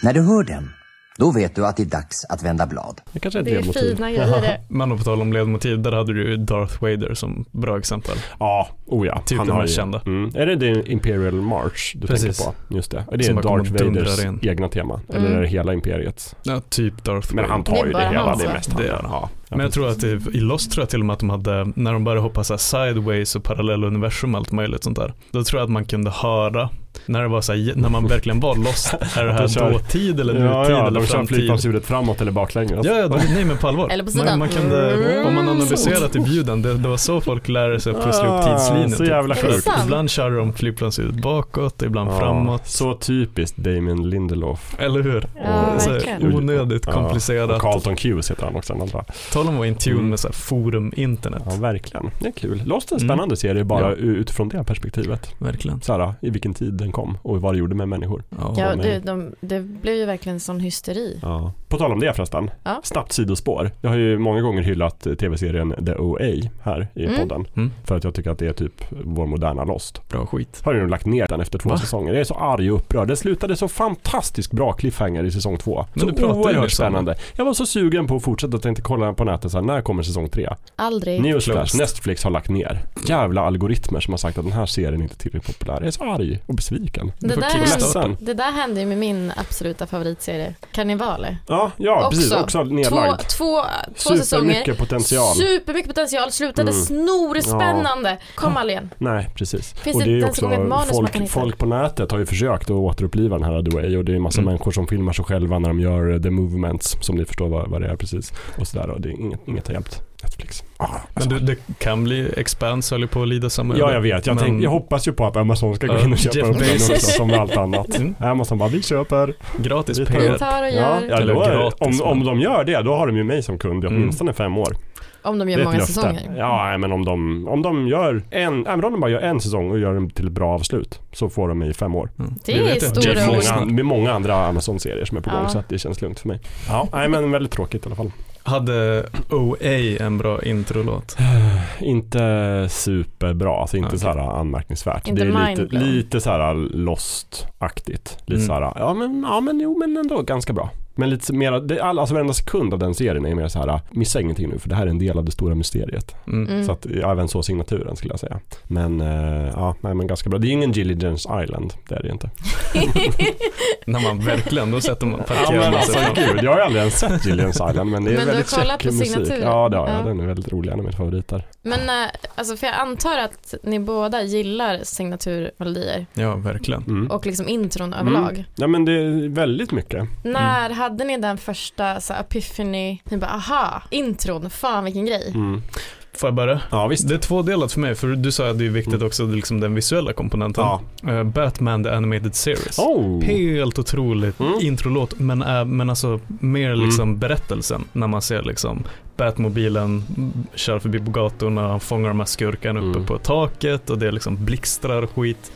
När du hör den, då vet du att det är dags att vända blad. Det kanske är ett Det är ledmotiv. fina grejer det. Men och på tal om ledmotiv, där hade du ju Darth Vader som bra exempel. Ja, oh ja. Typ han den har mest ju- kända. Mm. Är det det Imperial March du Precis. tänker på? Just det. Det är Som bara kommer Darth och dundrar Vaders in. egna tema. Eller Mm. är det hela Imperiets? Ja, typ Men Darth Vader. han Det tar är ju det bara hela. han, Det är så. mest han. Det gör han. Ja, ja, Men jag precis. tror att i, i Lost tror jag till och med att de hade, när de började hoppa så här sideways och parallella universum och allt möjligt sånt där. Då tror jag att man kunde höra, när det var så här, när man verkligen var Lost, är det Att de här kör- dåtid eller nutid Ja, ja, eller de kör framtid? flygplanshjulet framåt eller baklänges. Ja, ja, de, nej men på allvar. Eller på man, sidan. man kunde, om man Mm. analyserar typ ljuden, det, det var så folk lärde sig att pussla ihop Ah, tidslinjen. Så typ. jävla Är det sjukt. sant? Ibland kör de flygplansljudet bakåt, ibland Ja, framåt. Så typiskt Damien Lindelof. Eller hur? Ja, så verkligen. här, onödigt Ja, Och komplicerat. Carlton Hughes heter han också, den andra. Tala om att vara in tune Mm. med så här forum internet. Ja, verkligen. Det är kul. Lost är en Mm. spännande serie bara Ja. utifrån det perspektivet. Verkligen. Så här, i vilken tid den kom och vad det gjorde med människor. Ja. Ja, nej. du, de, det blev ju verkligen sån hysteri. På tal om det förresten, Ja. snabbt sidospår. Jag har ju många gånger hyllat eh, tv-serien The OA här i Mm. podden. Mm. För att jag tycker att det är typ vår moderna Lost. Bra skit. Har ju nu lagt ner den efter två Va? säsonger. Jag är så arg och upprörd. Det slutade så fantastiskt bra cliffhanger i säsong två. Men så du pratade ju oerhört nyss om spännande. Jag var så sugen på att fortsätta och tänkte kolla på nätet så här, när kommer säsong tre? Aldrig. Newsflash, Closed. Netflix har lagt ner. Jävla algoritmer som har sagt att den här serien är inte tillräckligt populär. Jag är så arg och besviken. det, får där kickstarta. hände, det där hände ju med min absoluta favoritserie, Karnevaler. Ja, ja precis. Också två, nedlagd. två, två säsonger. Supermycket potential. Supermycket potential, slutade Mm. snorspännande. Kom Alien. Nej, precis. Finns och det det är ju inte ens också en gång ett manus man kan folk, hitta? folk på nätet har ju försökt att återuppliva den här The Way och det är en massa Mm. människor som filmar sig själva när de gör eh, The Movements som ni förstår vad, vad det är precis. Och sådär och det är inget, inget har hjälpt. Netflix. Ah, Men alltså. du, det kan bli Expanse höll ju på att lida samma Ja, öde. jag vet. Jag, Men- tänk, jag hoppas ju på att Amazon ska gå Ja, in och köpa Jeff upp den också, Bezos. som med allt annat. Mm. Amazon bara, vi köper. Gratis Vi tar- Vi PR. tar och Ja, gör, ja, Eller då, är- gratis, om, men- om de gör det, då har de ju mig som kund i Mm. åtminstone fem år. om de Det är gör ett många löfte. säsonger. Ja, nej, men om de, om de gör en, även om de bara gör en säsong och gör den till ett bra avslut så får de mig i fem år. Mm. Det Vi är vet ju att stora Det är Jeff ord. Bezos- många, det är många andra Amazon-serier som är på gång Ja. så att det känns lugnt för mig. Ja, nej men väldigt tråkigt i alla fall. Hade OA en bra introlåt? Inte superbra, alltså inte Okej. så här anmärkningsvärt. Inte det är lite, mindblown. lite så här lost-aktigt. Lite Mm. så här, ja men, ja men jo men ändå ganska bra. Men lite mer, det, all- alltså varenda sekund av den serien är mer så här, "Ah, missa ingenting nu för det här är en del av det stora mysteriet. Mm. Mm. Så att, ja, även så signaturen skulle jag säga. Men eh, ja, nej men ganska bra. Det är ju ingen Gilly Jones Island, det är det ju inte. När man verkligen, då sätter man Ja parkerar men man sig alltså fram. gud, jag har ju aldrig ens sett Gilly Jones Island men det är Men du har väldigt kollat käck på musik. signaturen? Ja det har jag, Ja. den är väldigt rolig, en av mina favoriter. Men eh, alltså, för jag antar att ni båda gillar signaturmelodier Ja, verkligen. Mm. och liksom intron överlag. Ja men det är väldigt mycket. När hade ni den första så här, epiphany, ni bara aha, intron, fan vilken grej. Mm. Får jag börja? Ja visst. Det är tvådelat för mig, för du sa att det är viktigt också liksom den visuella komponenten. Ja. Eh, Batman The Animated Series. Oh. Helt otroligt Mm. introlåt, men, äh, men alltså mer liksom berättelsen när man ser liksom Batmobilen mm, kör förbi på gatorna, han fångar de här skurkarna uppe Mm. på taket och det liksom blixtrar och skit.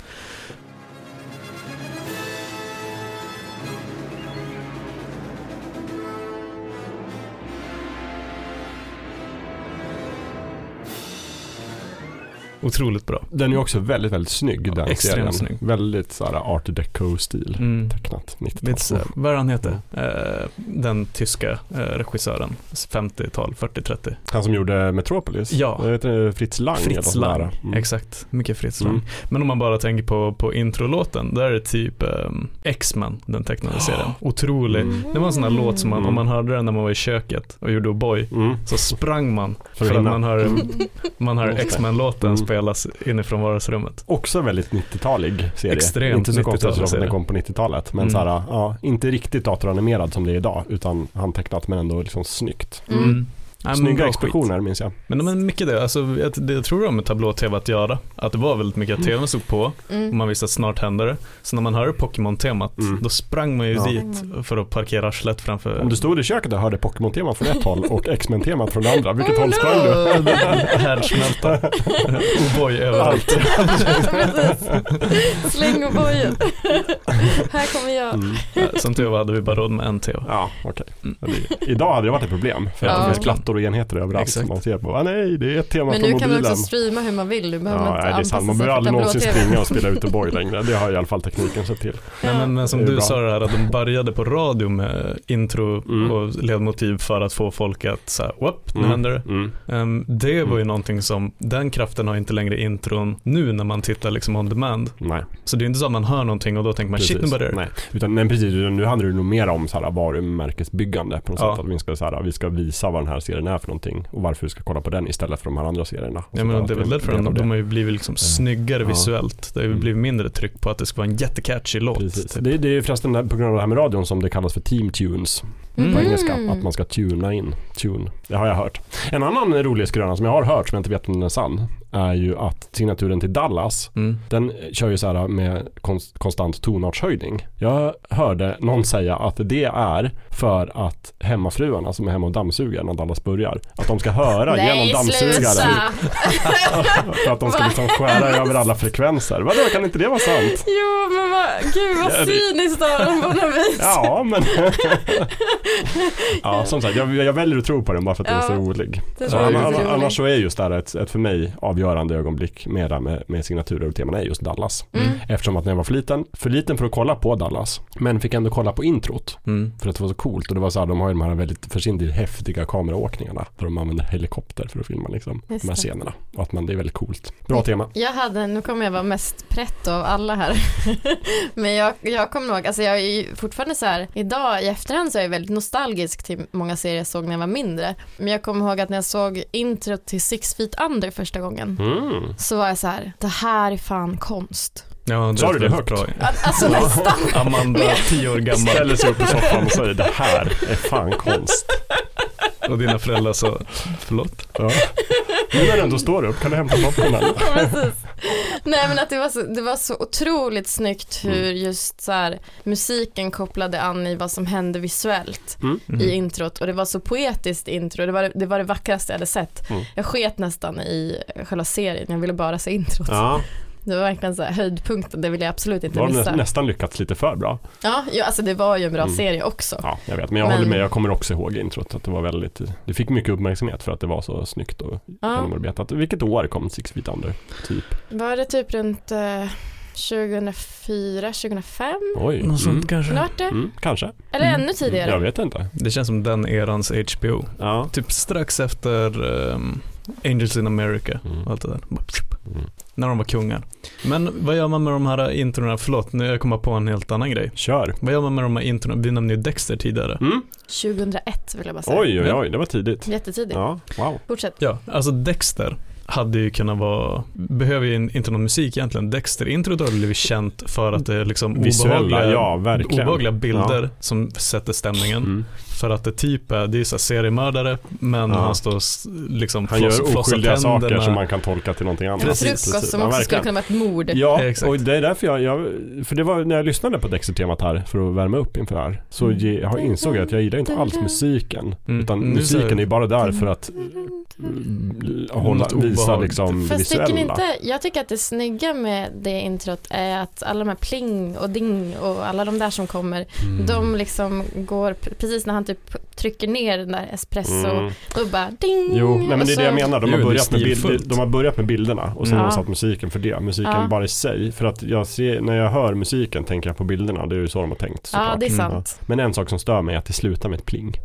Otroligt bra. Den är ju också väldigt, väldigt snygg den extremt serien. snygg. Väldigt så här art deco-stil. Mm. Tecknat 90-tal. Vet, eh, vad är han heter? Eh, den tyska eh, regissören, 50-tal, 40-30. Han som gjorde Metropolis. Ja. Jag vet inte, Fritz Lang. eller något Fritz sånt där. Lang, Mm. exakt. Mycket Fritz Lang. Mm. Men om man bara tänker på, på introlåten, där är det typ ehm, X-Men, den tecknade serien. Otrolig. Mm. Det var en sån här låt som man, Mm. om man hörde den när man var i köket och gjorde O'boy, Mm. så sprang man För för, att att hinna. man hör, man hör Just det. X-Men-låten Mm. spelas inifrån vardagsrummet. Också väldigt 90-talig serie. Extremt inte så konstigt 90-talsserie. eftersom den kom på 90-talet. Men Mm. så här, ja, inte riktigt datoranimerad som det är idag. Utan handtecknat men ändå liksom snyggt. Mm. Ja, men Snygga bra skit. explosioner minns jag. Men, men mycket det, alltså, jag, det jag tror det har med tablå-tv att göra. Att det var väldigt mycket att tvn stod på och Mm. man visste att snart hände det. Så när man hörde Pokémon-temat, Mm. då sprang man ju Ja. dit för att parkera arslet framför. Om du stod i köket och hörde Pokémon-temat från ett håll och X-Men-temat från det andra. Vilket Oh håll sprang du? Äh, Härdsmälta. O'boy överallt. Allt. Precis. Släng och bojen. Här kommer jag. Mm. Ja, Som tur var hade vi bara råd med en tv. Ja, okej. Mm. Det- Idag hade det varit ett problem. För att Ja. det finns plattor och enheter överallt Exakt. som man ser på. Ah, nej, det är ett tema Men från nu kan mobilen. man också streama hur man vill. Du behöver Ja, inte nej, det är anpassa sant. Man sig behöver aldrig till någonsin tablå-tv. springa och spela ut och boy längre. Det har i alla fall tekniken sett till. Nej, men, men som Det är du bra. sa det här att de började på radio med intro Mm. och ledmotiv för att få folk att säga whoop, nu Mm. händer det. Mm. Ehm, det var ju någonting som, den kraften har inte längre intron nu när man tittar liksom on demand. Nej, Så det är inte så att man hör någonting och då tänker man shit nu precis. börjar det. nej. Utan, nej, precis. Utan Nu handlar det nog mer om så här, varumärkesbyggande på något Ja. sätt. Att vi ska, så här, vi ska visa vad den här serien är för någonting och varför vi ska kolla på den istället för de här andra serierna. Jag menar det är väl därför de, de har ju blivit liksom snyggare Ja. visuellt. Det har ju Mm. blivit mindre tryck på att det ska vara en jättecatchy låt. Precis. typ. Det, det är förresten där- på grund av det här med radion som det kallas för team tunes på Mm. engelska. Att man ska tuna in. Tune. Det har jag hört. En annan rolig skröna som jag har hört som jag inte vet om den är sann är ju att signaturen till Dallas Mm. Den kör ju så här med konst, konstant tonartshöjning. Jag hörde någon säga att det är för att hemmafruarna som är hemma och dammsuger när Dallas börjar, att de ska höra genom dammsugaren sluta. för att de ska Va? liksom skära över alla frekvenser. Vadå, kan inte det vara sant? Jo men vad, gud vad Ja, det- cyniskt av dem på något vis. Ja, men... ja, som sagt, jag, jag väljer att tro på den bara för att den är Ja, så rolig. den är Så anna- rolig. anna- Annars så är just det här ett, ett för mig avgörande ögonblick med, det här med, med signaturer och teman är just Dallas. Mm. Eftersom att när jag var för liten, för liten för att kolla på Dallas, men fick ändå kolla på introt Mm. för att det var så coolt och det var så här, de har ju de här väldigt för sin del häftiga kameraåkningarna där de använder helikopter för att filma liksom Just de här det. scenerna och att man, det är väldigt coolt. Bra tema. Jag hade, nu kommer jag vara mest pretto av alla här. Men jag, jag kommer ihåg, alltså jag är ju fortfarande så här, idag i efterhand så är jag väldigt nostalgisk till många serier jag såg när jag var mindre. Men jag kommer ihåg att när jag såg intro till Six Feet Under första gången Mm. så var jag så här, det här är fan konst. Ja, det Sa är du det väldigt högt? bra. Att- Alltså nästan. Amanda, tio år gammal Ställer sig upp i soffan och säger det här är fan konst. och dina föräldrar sa, förlåt? Ja. Nu när du ändå står upp, kan du hämta popcornen? Ja, precis. Nej men att det var, så, det var så otroligt snyggt Mm. hur just så här, musiken kopplade an i vad som hände visuellt Mm. i introt och det var så poetiskt intro, det var det, det, var det vackraste jag hade sett. Mm. Jag sket nästan i själva serien, jag ville bara se introt. Ja, Det var verkligen så här, höjdpunkten, det ville jag absolut då inte har de missa. nä- nästan lyckats lite för bra. Ja, ja, alltså det var ju en bra Mm. serie också. Ja, jag vet, men jag Men- håller med. Jag kommer också ihåg introt. Att det var väldigt, det fick mycket uppmärksamhet för att det var så snyggt och Ja. genomarbetat. Vilket år kom Six Feet Under? Typ. Var det typ runt eh, 2004, 2005? Oj. Något sånt kanske. Vart det? Mm, kanske. Eller Mm. ännu tidigare? Jag vet inte. Det känns som den erans HBO. Ja. Typ strax efter ehm, Angels in America Mm. och allt det där. Bara, pjup. Mm. När de var kungar. Men vad gör man med de här introna? Förlåt, nu jag kommer på en helt annan grej. Kör. Vad gör man med de här introna? Vi nämnde ju Dexter tidigare. Mm. 2001 vill jag bara säga. Oj, oj, oj, det var tidigt. Jättetidigt. Ja, wow. Fortsätt. Ja, alltså Dexter hade ju kunnat vara, behöver ju in- inte någon musik egentligen. Dexter-introt har blivit känt för att det är liksom Visuella, obehagliga, ja, verkligen. obehagliga bilder som sätter stämningen. Mm. För att det typ är, det är ju så här seriemördare, men Ja. han står och s- liksom Han floss- gör flossar oskyldiga saker tänderna. som man kan tolka till någonting annat. Typ. En Precis, frukost som Ja, också skulle verkligen. kunna vara ett mord. Ja, Exakt. och det är därför jag, jag, för det var när jag lyssnade på Dexter-temat här för att värma upp inför det här, så Mm. ge, jag insåg jag att jag gillar inte alls musiken. Mm. Utan Mm, så- musiken är bara där för att mm, hålla, Något visa obehag. liksom Fast tycker ni visuella. inte, jag tycker att det snygga med det introt är att Mm. alla de här pling och ding och alla de där som kommer, de liksom går, p- precis när han typ trycker ner den där espresso, Mm. då bara ding. Jo, nej, men det är och det jag menar. De har, Jo, det är börjat med, bild, stilfullt. de har börjat med bilderna och sen Mm. har de Ja. satt musiken för det. Musiken Ja. bara i sig. För att jag ser, när jag hör musiken tänker jag på bilderna. Det är ju så de har tänkt Ja, såklart. det är Mm, sant. Men en sak som stör mig är att det slutar med ett pling.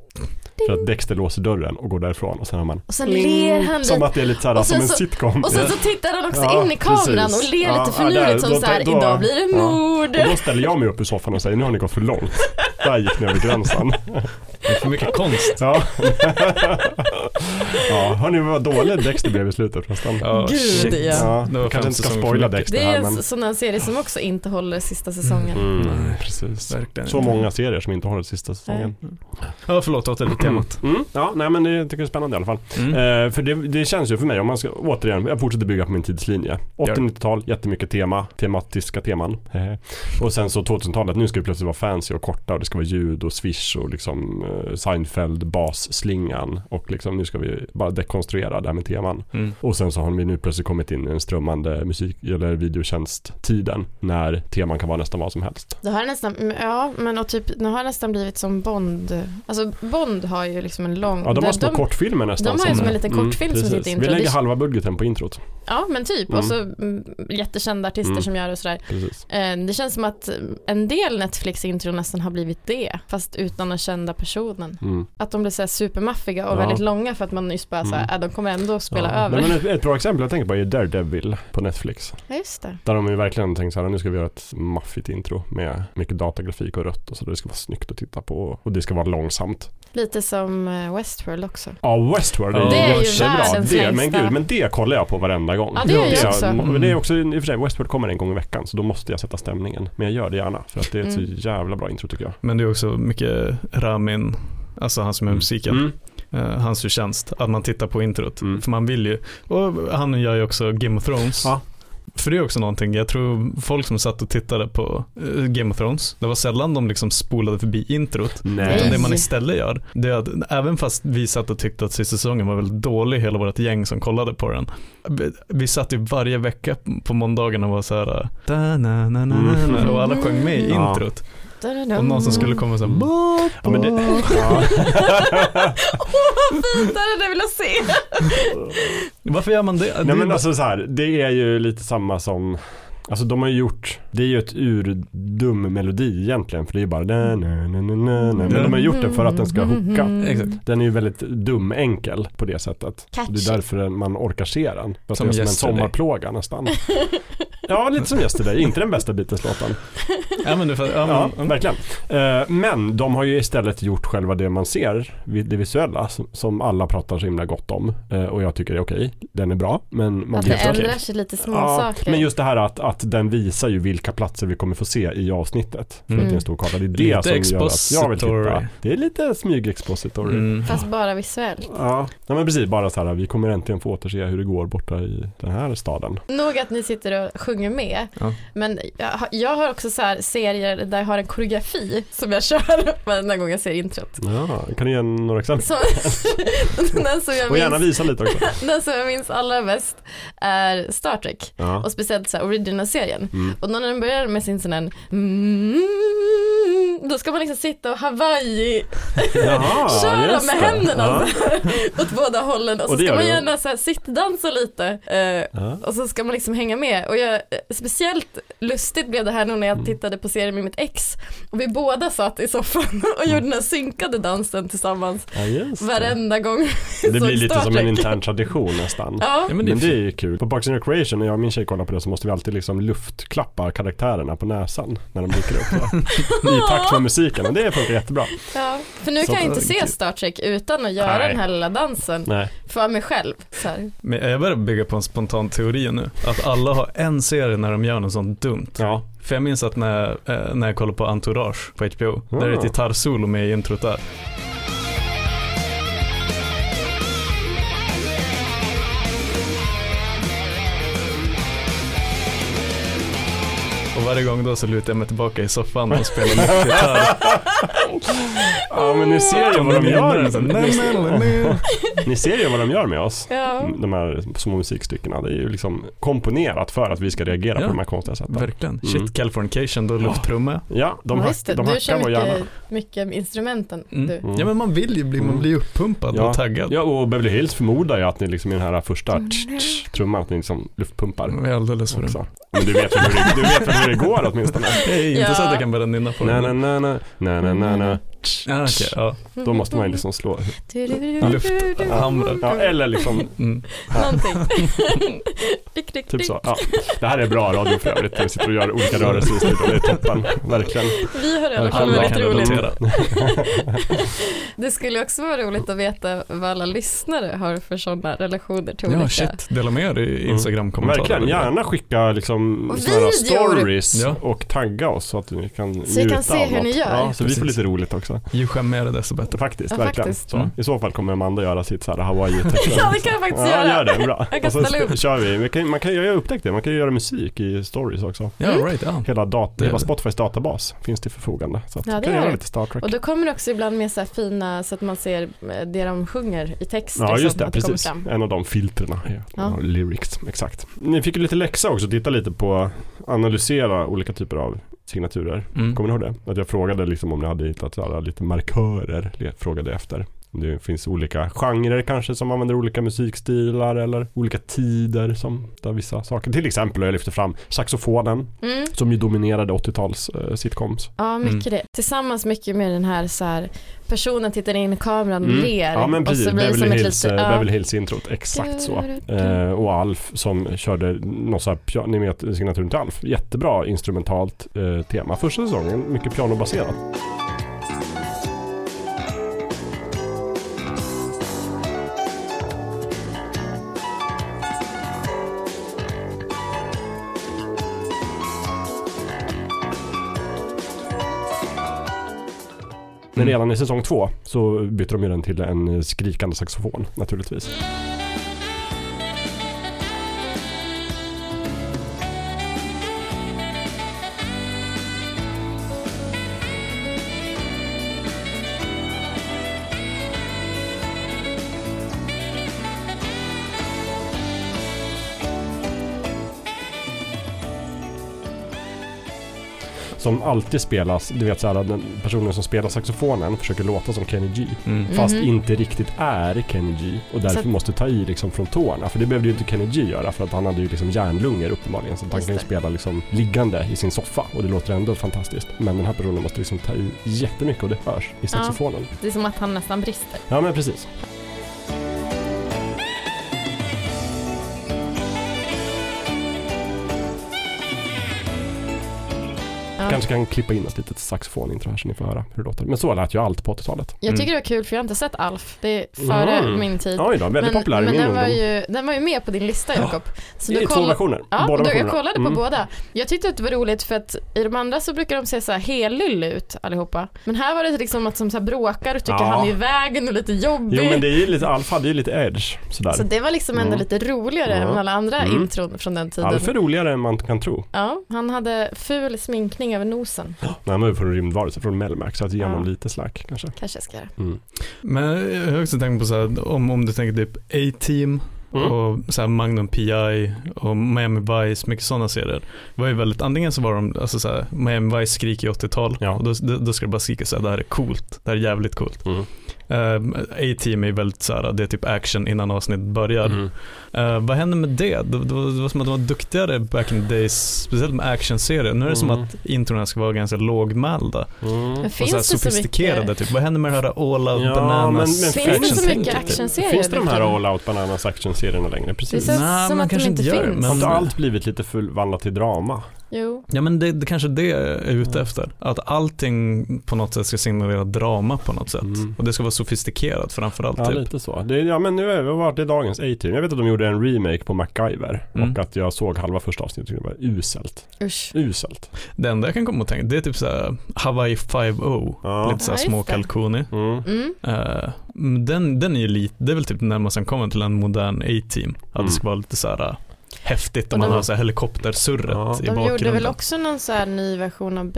För att Dexter låser dörren och går därifrån och sen har man Och sen ler han lite. Mm, Som att det är lite såhär Och som sen en så- sitcom. Och sen så tittar han också Ja, in i kameran precis. och ler Ja, lite ja, där, finurligt då- som så här, då- idag blir det ja. mord. Och då ställer jag mig upp ur soffan och säger nu har ni gått för långt. Där gick ni över gränsen. Det är för mycket konst. Ja. ja, hörni vad dålig Dexter blev i slutet förresten. Ja, Gud, shit. ja. Ja, Det var kanske fem inte ska säsonger spoila för mycket. Dexter Det är här en men. sån serie som också inte håller sista säsongen. Mm, Nej, precis. Verkligen. Så många serier som inte håller sista säsongen. Ja, förlåt, åter till temat. Mm, ja, nej men det tycker jag är spännande i alla fall. Mm. Eh, för det, det känns ju för mig, om man ska, återigen, jag fortsätter bygga på min tidslinje. 80-90-tal, jättemycket tema, tematiska teman. Eh, och sen så 2000-talet, nu ska det plötsligt vara fancy och korta och det ska vara ljud och swish och liksom eh, Seinfeld, basslingan och liksom nu ska vi bara dekonstruera det här med teman. Mm. Och sen så har vi nu plötsligt kommit in i den strömmande musik eller videotjänsttiden när teman kan vara nästan vad som helst. Det har nästan, mm, ja men och typ, nu har det nästan blivit som Bond. Alltså Bond har ju liksom en lång. Ja, de har små de, kortfilmer nästan. de har ju som en liten Mm, kortfilm som precis. sitter i intro. Vi lägger Det- halva budgeten på introt. Ja men typ, Mm. och så mm, jättekända artister Mm. som gör det och sådär. Precis. Eh, Det känns som att eh, en del Netflix-intron nästan har blivit det, fast utan den kända personen. Mm. Att de blir såhär supermaffiga och Ja. väldigt långa för att man nyss bara såhär, Mm. äh, de kommer ändå spela Ja. över. Nej, men ett, ett bra exempel jag tänker på är Daredevil på Netflix. Ja just det. Där de ju verkligen tänkt så här, nu ska vi göra ett maffigt intro med mycket datagrafik och rött och så där. det ska vara snyggt att titta på och det ska vara långsamt. Lite som eh, Westworld också. Ja, Westworld Ja. Det är ju världens det, Men längsta. gud, men det kollar jag på varenda gång. Ja, det gör jag också. Men det är också, i och för sig, Westworld kommer en gång i veckan så då måste jag sätta stämningen. Men jag gör det gärna för att det är ett Mm. så jävla bra intro tycker jag. Men det är också mycket Ramin, alltså han som är musiken, Mm. eh, hans förtjänst, att man tittar på introt. Mm. För man vill ju, och han gör ju också Game of Thrones. Ja. För det är också någonting, jag tror folk som satt och tittade på eh, Game of Thrones, det var sällan de liksom spolade förbi introt. Nej. Utan det Nej. man istället gör, det är att även fast vi satt och tyckte att sista säsongen var väldigt dålig, hela vårt gäng som kollade på den. vi- Vi satt ju varje vecka på måndagen och var så här, da, na, na, na, na, na, och alla sjöng med i Mm. introt. Och någon som skulle komma och så här, Mm. "Ba, Ja, men det, ba." ja. Åh vad fint, det hade jag velat se. Varför gör man det? det Nej är men bara- alltså så här, det är ju lite samma som Alltså de har ju gjort, det är ju ett urdum melodi egentligen för det är ju bara na, na, na, na, na, na. Men de har gjort det för att den Mm. ska hooka. Exakt. Den är ju väldigt dum enkel på det sättet. Catchy. Det är därför den- man orkar se den. För att Som det är som en Yesterday. sommarplåga nästan. Ja, lite som Yesterday, inte den bästa Beatles-låten. Ja, men du, fattar- ja, Ja, men- verkligen. Eh, Men de har ju istället gjort själva det man ser, vi- det visuella, som- som alla pratar så himla gott om. Eh, Och jag tycker det är okej, den är bra, men man Att Alltså, det blir ändrar okej. sig lite små Ja, saker. men just det här att, att den visar ju vilka platser vi kommer få se i avsnittet. För Mm. att det är en stor karta. Det är det Lite som gör att jag vill expository. titta. Det är lite smygexpository. Mm. Fast bara visuellt. Ja. ja, men precis. Bara så här, vi kommer äntligen få återse hur det går borta i den här staden. Nog att ni sitter och sjunger med. Ja. Men jag har- jag har också så här serier där jag har en koreografi som jag kör varenda gång jag ser introt. Ja, kan du ge några exempel? Som, den, som jag Och gärna minns, visa lite också. den som jag minns allra bäst är Star Trek. Ja. Och speciellt så här original-serien. Mm. Och då när den börjar med sin sån här mm, då ska man liksom sitta och hawaii Jaha, köra just med det. Ja. händerna så här, åt båda hållen och, Och det så ska gör man du. gärna så här sittdansa lite eh, Ja. och så ska man liksom hänga med och jag, eh, speciellt lustigt blev det här nu när Mm. jag tittade på serien med mitt ex och vi båda satt i soffan och gjorde den här synkade dansen tillsammans Ja, Mm. just det. varenda gång vi det såg blir lite Star som en Trek. intern tradition nästan. Ja, Ja, Men men det, det är är ju kul. På Parks and Recreation, när jag och min tjej kollar på det så måste vi alltid liksom luftklappa karaktärerna på näsan när de dyker upp. I takt med musiken och det funkar jättebra. ja, för nu Så kan jag att- inte se Star Trek utan att göra Nej. den här lilla dansen Nej. för mig själv. Så här. Men jag börjar bygga på en spontan teori nu. Att alla har en serie när de gör något sånt dumt. Ja. För jag minns att när, eh, när jag kollade på Entourage på HBO, där är det Ah. ett gitarrsolo med i introt där. Och varje gång då så lutar jag mig tillbaka i soffan och spelar lite gitarr. Ja men ni ser ju vad de gör. liksom. Nej, nej, nej. Ni ser ju vad de gör med oss. Ja. De här små musikstyckena. Det är ju liksom komponerat för att vi ska reagera Ja. på de här konstiga sätten. Verkligen. Mm. Shit, Californication, då lufttrummor. Ja, de, Ja, hack, Just det, de du hackar vår kör hjärna. mycket, mycket med instrumenten. Mm. Du. Ja men man vill ju bli, man blir ju uppumpad Mm. Ja. och taggad. Ja och Beverly Hills förmodar jag att ni liksom i den här första Mm. tsch, tsch, trumman, att ni liksom luftpumpar Jag är alldeles för också. Men du vet väl hur det, du vet väl hur det går åtminstone? Det är inte Ja. så att jag kan börja nynna på Na den. na na na, na na na na. Ah, okej, ja. Då måste man ju liksom slå. Lufthamrar. Ja, eller liksom, Mm. Någonting. Klick, klick, typ klick. så. Ja. Det här är bra radio för övrigt. Vi sitter och gör olika rörelser i studion. Det är toppen, verkligen. Vi har i alla fall Alla väldigt kan roligt. relatera. Det skulle också vara roligt att veta vad alla lyssnare har för sådana relationer Ja, till olika. shit. Dela med er i Mm. Instagram-kommentarer. Verkligen, gärna skicka liksom Och sådana här videor. stories Ja. och tagga oss så att vi kan Så vi kan njuta se av hur ni något. gör. Ja, så vi får Precis. lite roligt också. Ju skämmigare desto bättre. Faktiskt, Ja, verkligen. faktiskt. Så. Mm. I så fall kommer Amanda göra sitt så här hawaii-tecken. Ja, det kan jag faktiskt Ja, göra. gör det. Bra. Jag kan Och ställa så upp. kör vi. vi kan, man kan, jag har upptäckt det, man kan ju göra musik i stories också. Ja, right, ja. Hela, dat- Det är hela det. Spotifys databas finns till förfogande. Så att Ja, man det kan är göra det. lite Star Trek. Och då kommer det också ibland med så här fina så att man ser eh, det de sjunger i text. Ja liksom, just det, att kommer precis. fram. En av de filtrerna. är Ja. ja. Lyrics, exakt. Ni fick ju lite läxa också, titta lite på, analysera olika typer av signaturer. Mm. Kommer ni ihåg det? Att jag frågade liksom om ni hade hittat så här lite markörer, le- frågade efter. Om det finns olika genrer kanske som använder olika musikstilar eller olika tider som där vissa saker. Till exempel, jag lyfte fram saxofonen Mm. som ju dominerade 80-tals eh, sitcoms. Ja, mycket Mm. det. Tillsammans mycket med den här så här personen tittar in i kameran och ler. Mm. Ja men precis, och så blir det som Beverly ett Hills, litet- eh, ja. Beverly Hills introt, exakt så. Eh, och Alf som körde något så här, pia- ni vet signaturen till Alf, jättebra instrumentalt eh, tema. Första säsongen, mycket pianobaserat. Men redan i säsong två så bytte de ju den till en skrikande saxofon naturligtvis. Som alltid spelas, du vet såhär, den personen som spelar saxofonen försöker låta som Kenny G. Mm. Fast Mhm. inte riktigt är Kenny G. Och därför att- måste ta i liksom från tårna. För det behövde ju inte Kenny G göra för att han hade ju liksom järnlungor uppenbarligen. Så att han Just kan ju det. spela liksom liggande i sin soffa och det låter ändå fantastiskt. Men den här personen måste liksom ta i jättemycket och det hörs i saxofonen. Det är som att han nästan brister. Ja men precis. Ja. Kanske kan klippa in ett litet saxofonintro här så ni får höra hur det låter. Men så lät ju allt på 80-talet. Jag Mm. tycker det var kul för jag har inte sett Alf. Det är före Mm. min tid. Oj då, väldigt men populär i men min den, var ungdom. ju, den var ju med på din lista Jakob. Så I du två koll- versioner. Ja, båda då, jag versionerna. kollade på Mm. båda. Jag tyckte att det var roligt för att i de andra så brukar de se så här helylle ut allihopa. Men här var det liksom att som så här bråkar och tycker Ja. han är i vägen och lite jobbig. Jo men det är ju lite, Alf hade ju lite edge sådär. Så det var liksom ändå Mm. lite roligare Ja. än alla andra Mm. intron från den tiden. Alf är roligare än man kan tro. Ja, han hade ful sminkning över nosen. Nej, han var ju från rymdvarelse, från Melmac, så att ge honom Ja. lite slack kanske. Kanske jag ska göra. Mm. Men jag har också tänkt på så här, om, om du tänker typ A-Team Mm. och så här Magnum PI och Miami Vice, mycket sådana serier. var ju väldigt, antingen så var de, alltså så här, Miami Vice skriker i 80-tal Ja. och då, då, då ska det bara skrika så här, det här är coolt, det här är jävligt coolt. Mm. Eh, A-Team är ju väldigt så här, det är typ action innan avsnittet börjar. Mm. Eh, vad hände med det? Det, det, var, det var som att de var duktigare back in the days, speciellt med actionserier. Nu är det som Mm. att introna ska vara ganska lågmälda Mm. Men och finns så här det så sofistikerade. mycket? Typ. Vad händer med det här all out Ja, men- bananas men Finns det så Action-serier, mycket typ. actionserier? Finns det de här Victor? All Out Bananas actionserierna längre? Det Precis. känns Nej, som man att de kanske inte inte gör det, finns. Har men- inte allt blivit lite förvandlat till drama? Jo. Ja men det, det kanske det är ute efter. Att allting på något sätt ska signalera drama på något sätt. Mm. Och det ska vara sofistikerat framförallt. Ja, typ. lite så. Det, är- ja, men nu är vad var det dagens A-team. Jag vet att de gjorde en remake på MacGyver Mm. och att jag såg halva första avsnittet och det var uselt. Usch. Uselt. Det enda jag kan komma och tänka, det är typ såhär Hawaii 5.0. Ja. Lite såhär Ja, just små det. kalkoner. Mm. Mm. Eh, men den, den är ju lite, det är väl typ närmast man kommer till en modern A-team. Att Mm. det ska vara lite såhär häftigt om Och man de- har så här helikoptersurret Ja. i De bakgrunden. gjorde väl också någon så här ny version av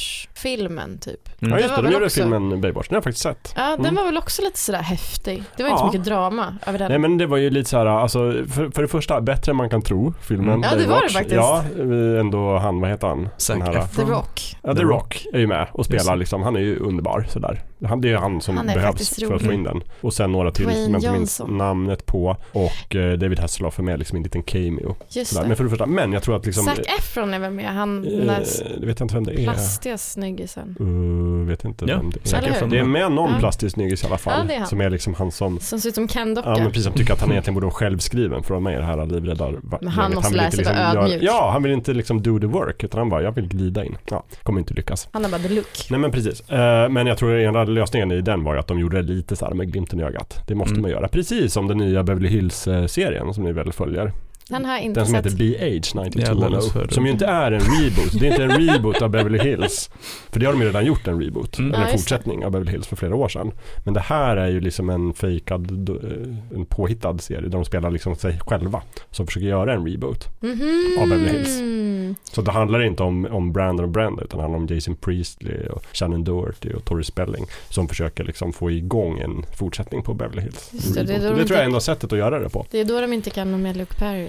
Baywatch-filmen typ. Mm. Ja just det, Det var de väl gjorde också- filmen Baywatch, den har jag faktiskt sett. Ja, den Mm. var väl också lite sådär häftig. Det var inte Ja. så mycket drama över den. Nej men det var ju lite så här, alltså för, för det första, bättre än man kan tro, filmen Mm. Ja, det var det Baywatch. faktiskt. Ja, eh, ändå han, vad heter han? Zac Den här, The Efron. Rock. ja, The The Rock är ju med och Just spelar det. liksom, han är ju underbar sådär. Han, det är ju han som Han är behövs faktiskt för att få rolig. in den. Och sen några till Dwayne som jag inte minns Johnson. namnet på och eh, David Hasselhoff är med liksom i en liten cameo. Just Sådär. det. Men för det första, men jag tror att liksom... Zac Efron är väl med? Han eh, den där s- det vet jag inte vem det är. plastiga snyggisen. Eh, vet inte Ja, vem det Zac är. Eller hur? Efron. Det är med någon Ja. plastisk snyggis i alla fall. Ja, det är han. Som är liksom han som Som ser ut som Ken-docka. Ja men precis, som tycker att han egentligen borde vara självskriven för att vara med i det här livräddargänget. Men han måste vill lära inte liksom sig vara göra- ödmjuk. Ja, han vill inte liksom do the work utan han bara, jag vill glida in. Ja, kommer inte lyckas. Han har bara the look. Nej men precis, Eh, men jag tror att enda lösningen i den var ju att de gjorde det lite så här med glimten i ögat. Det måste Mm. man göra, precis som den nya Beverly Hills-serien som ni väl följer. Den har jag inte Den som sett. heter BH Jävlar, det är så 9210, roligt. som ju inte är en reboot. Det är inte en reboot av Beverly Hills. För det har de ju redan gjort en reboot, Mm. eller Ja, en just det. fortsättning av Beverly Hills för flera år sedan. Men det här är ju liksom en fejkad, eh, en påhittad serie där de spelar liksom sig själva. Som försöker göra en reboot. Mhm. av Beverly Hills. Så det handlar inte om, om Brandon och Brenda utan det handlar om Jason Priestley och Shannon Doherty och Tori Spelling. Som försöker liksom få igång en fortsättning på Beverly Hills. Just Mm. det, det är reboot. då de Mm. det tror jag är inte- enda sättet att göra det på. Det är då de inte kan ha med Luke Perry.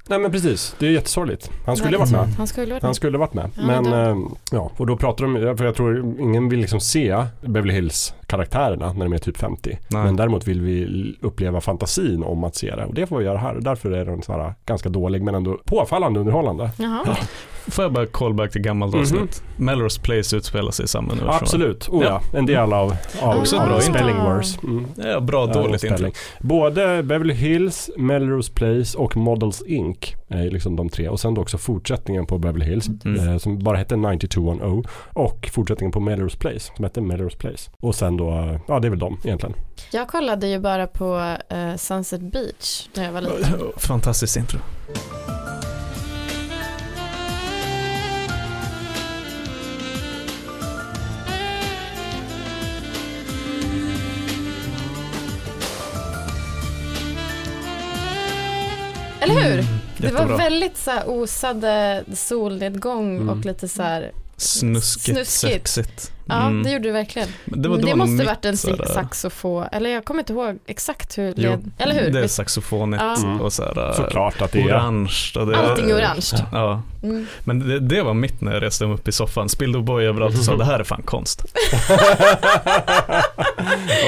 Nej men precis, det är jättesorgligt. Han skulle ha varit med. Han skulle varit Han med. skulle varit med. Mm. Ja, men men då- eh, ja, och då pratar de, för jag tror ingen vill liksom se Beverly Hills karaktärerna när de är typ 50. Nej. Men däremot vill vi uppleva fantasin om att se det och det får vi göra här. Därför är den så här ganska dålig men ändå påfallande underhållande. Jaha. Får jag bara callback till gammalt Mhm. avsnitt? Melrose Place utspelar sig i samma universum. Absolut, oh, ja. en del av, av, Också av bra intro. Spelling Wars. Mm. Ja, bra Ja, dåligt Spelling. intro. Både Beverly Hills, Melrose Place och Models Inc. är ju liksom de tre. Och sen då också fortsättningen på Beverly Hills Mm. eh, som bara hette 9210 oh, och fortsättningen på Melrose Place som hette Melrose Place. Och sen då, eh, ja det är väl de egentligen. Jag kollade ju bara på eh, Sunset Beach när jag var liten. Fantastiskt intro. Eller hur? Det Jättebra. var väldigt så här osade solnedgång Mm. och lite så här, Snuskigt, Snuskigt. sexigt. ja Mm. det gjorde det verkligen. Men Det, var- var måste något varit en nytt, sådär. saxofon, eller jag kommer inte ihåg exakt hur Jo, led, eller hur? Det är Visst, saxofonigt Ja. Mm. och sådär, Såklart att det är. orange. Och det, Allting orange. Ja, Mm. men det, det var mitt när jag reste mig upp i soffan, spillde boy överallt Mm. och sa det här är fan konst.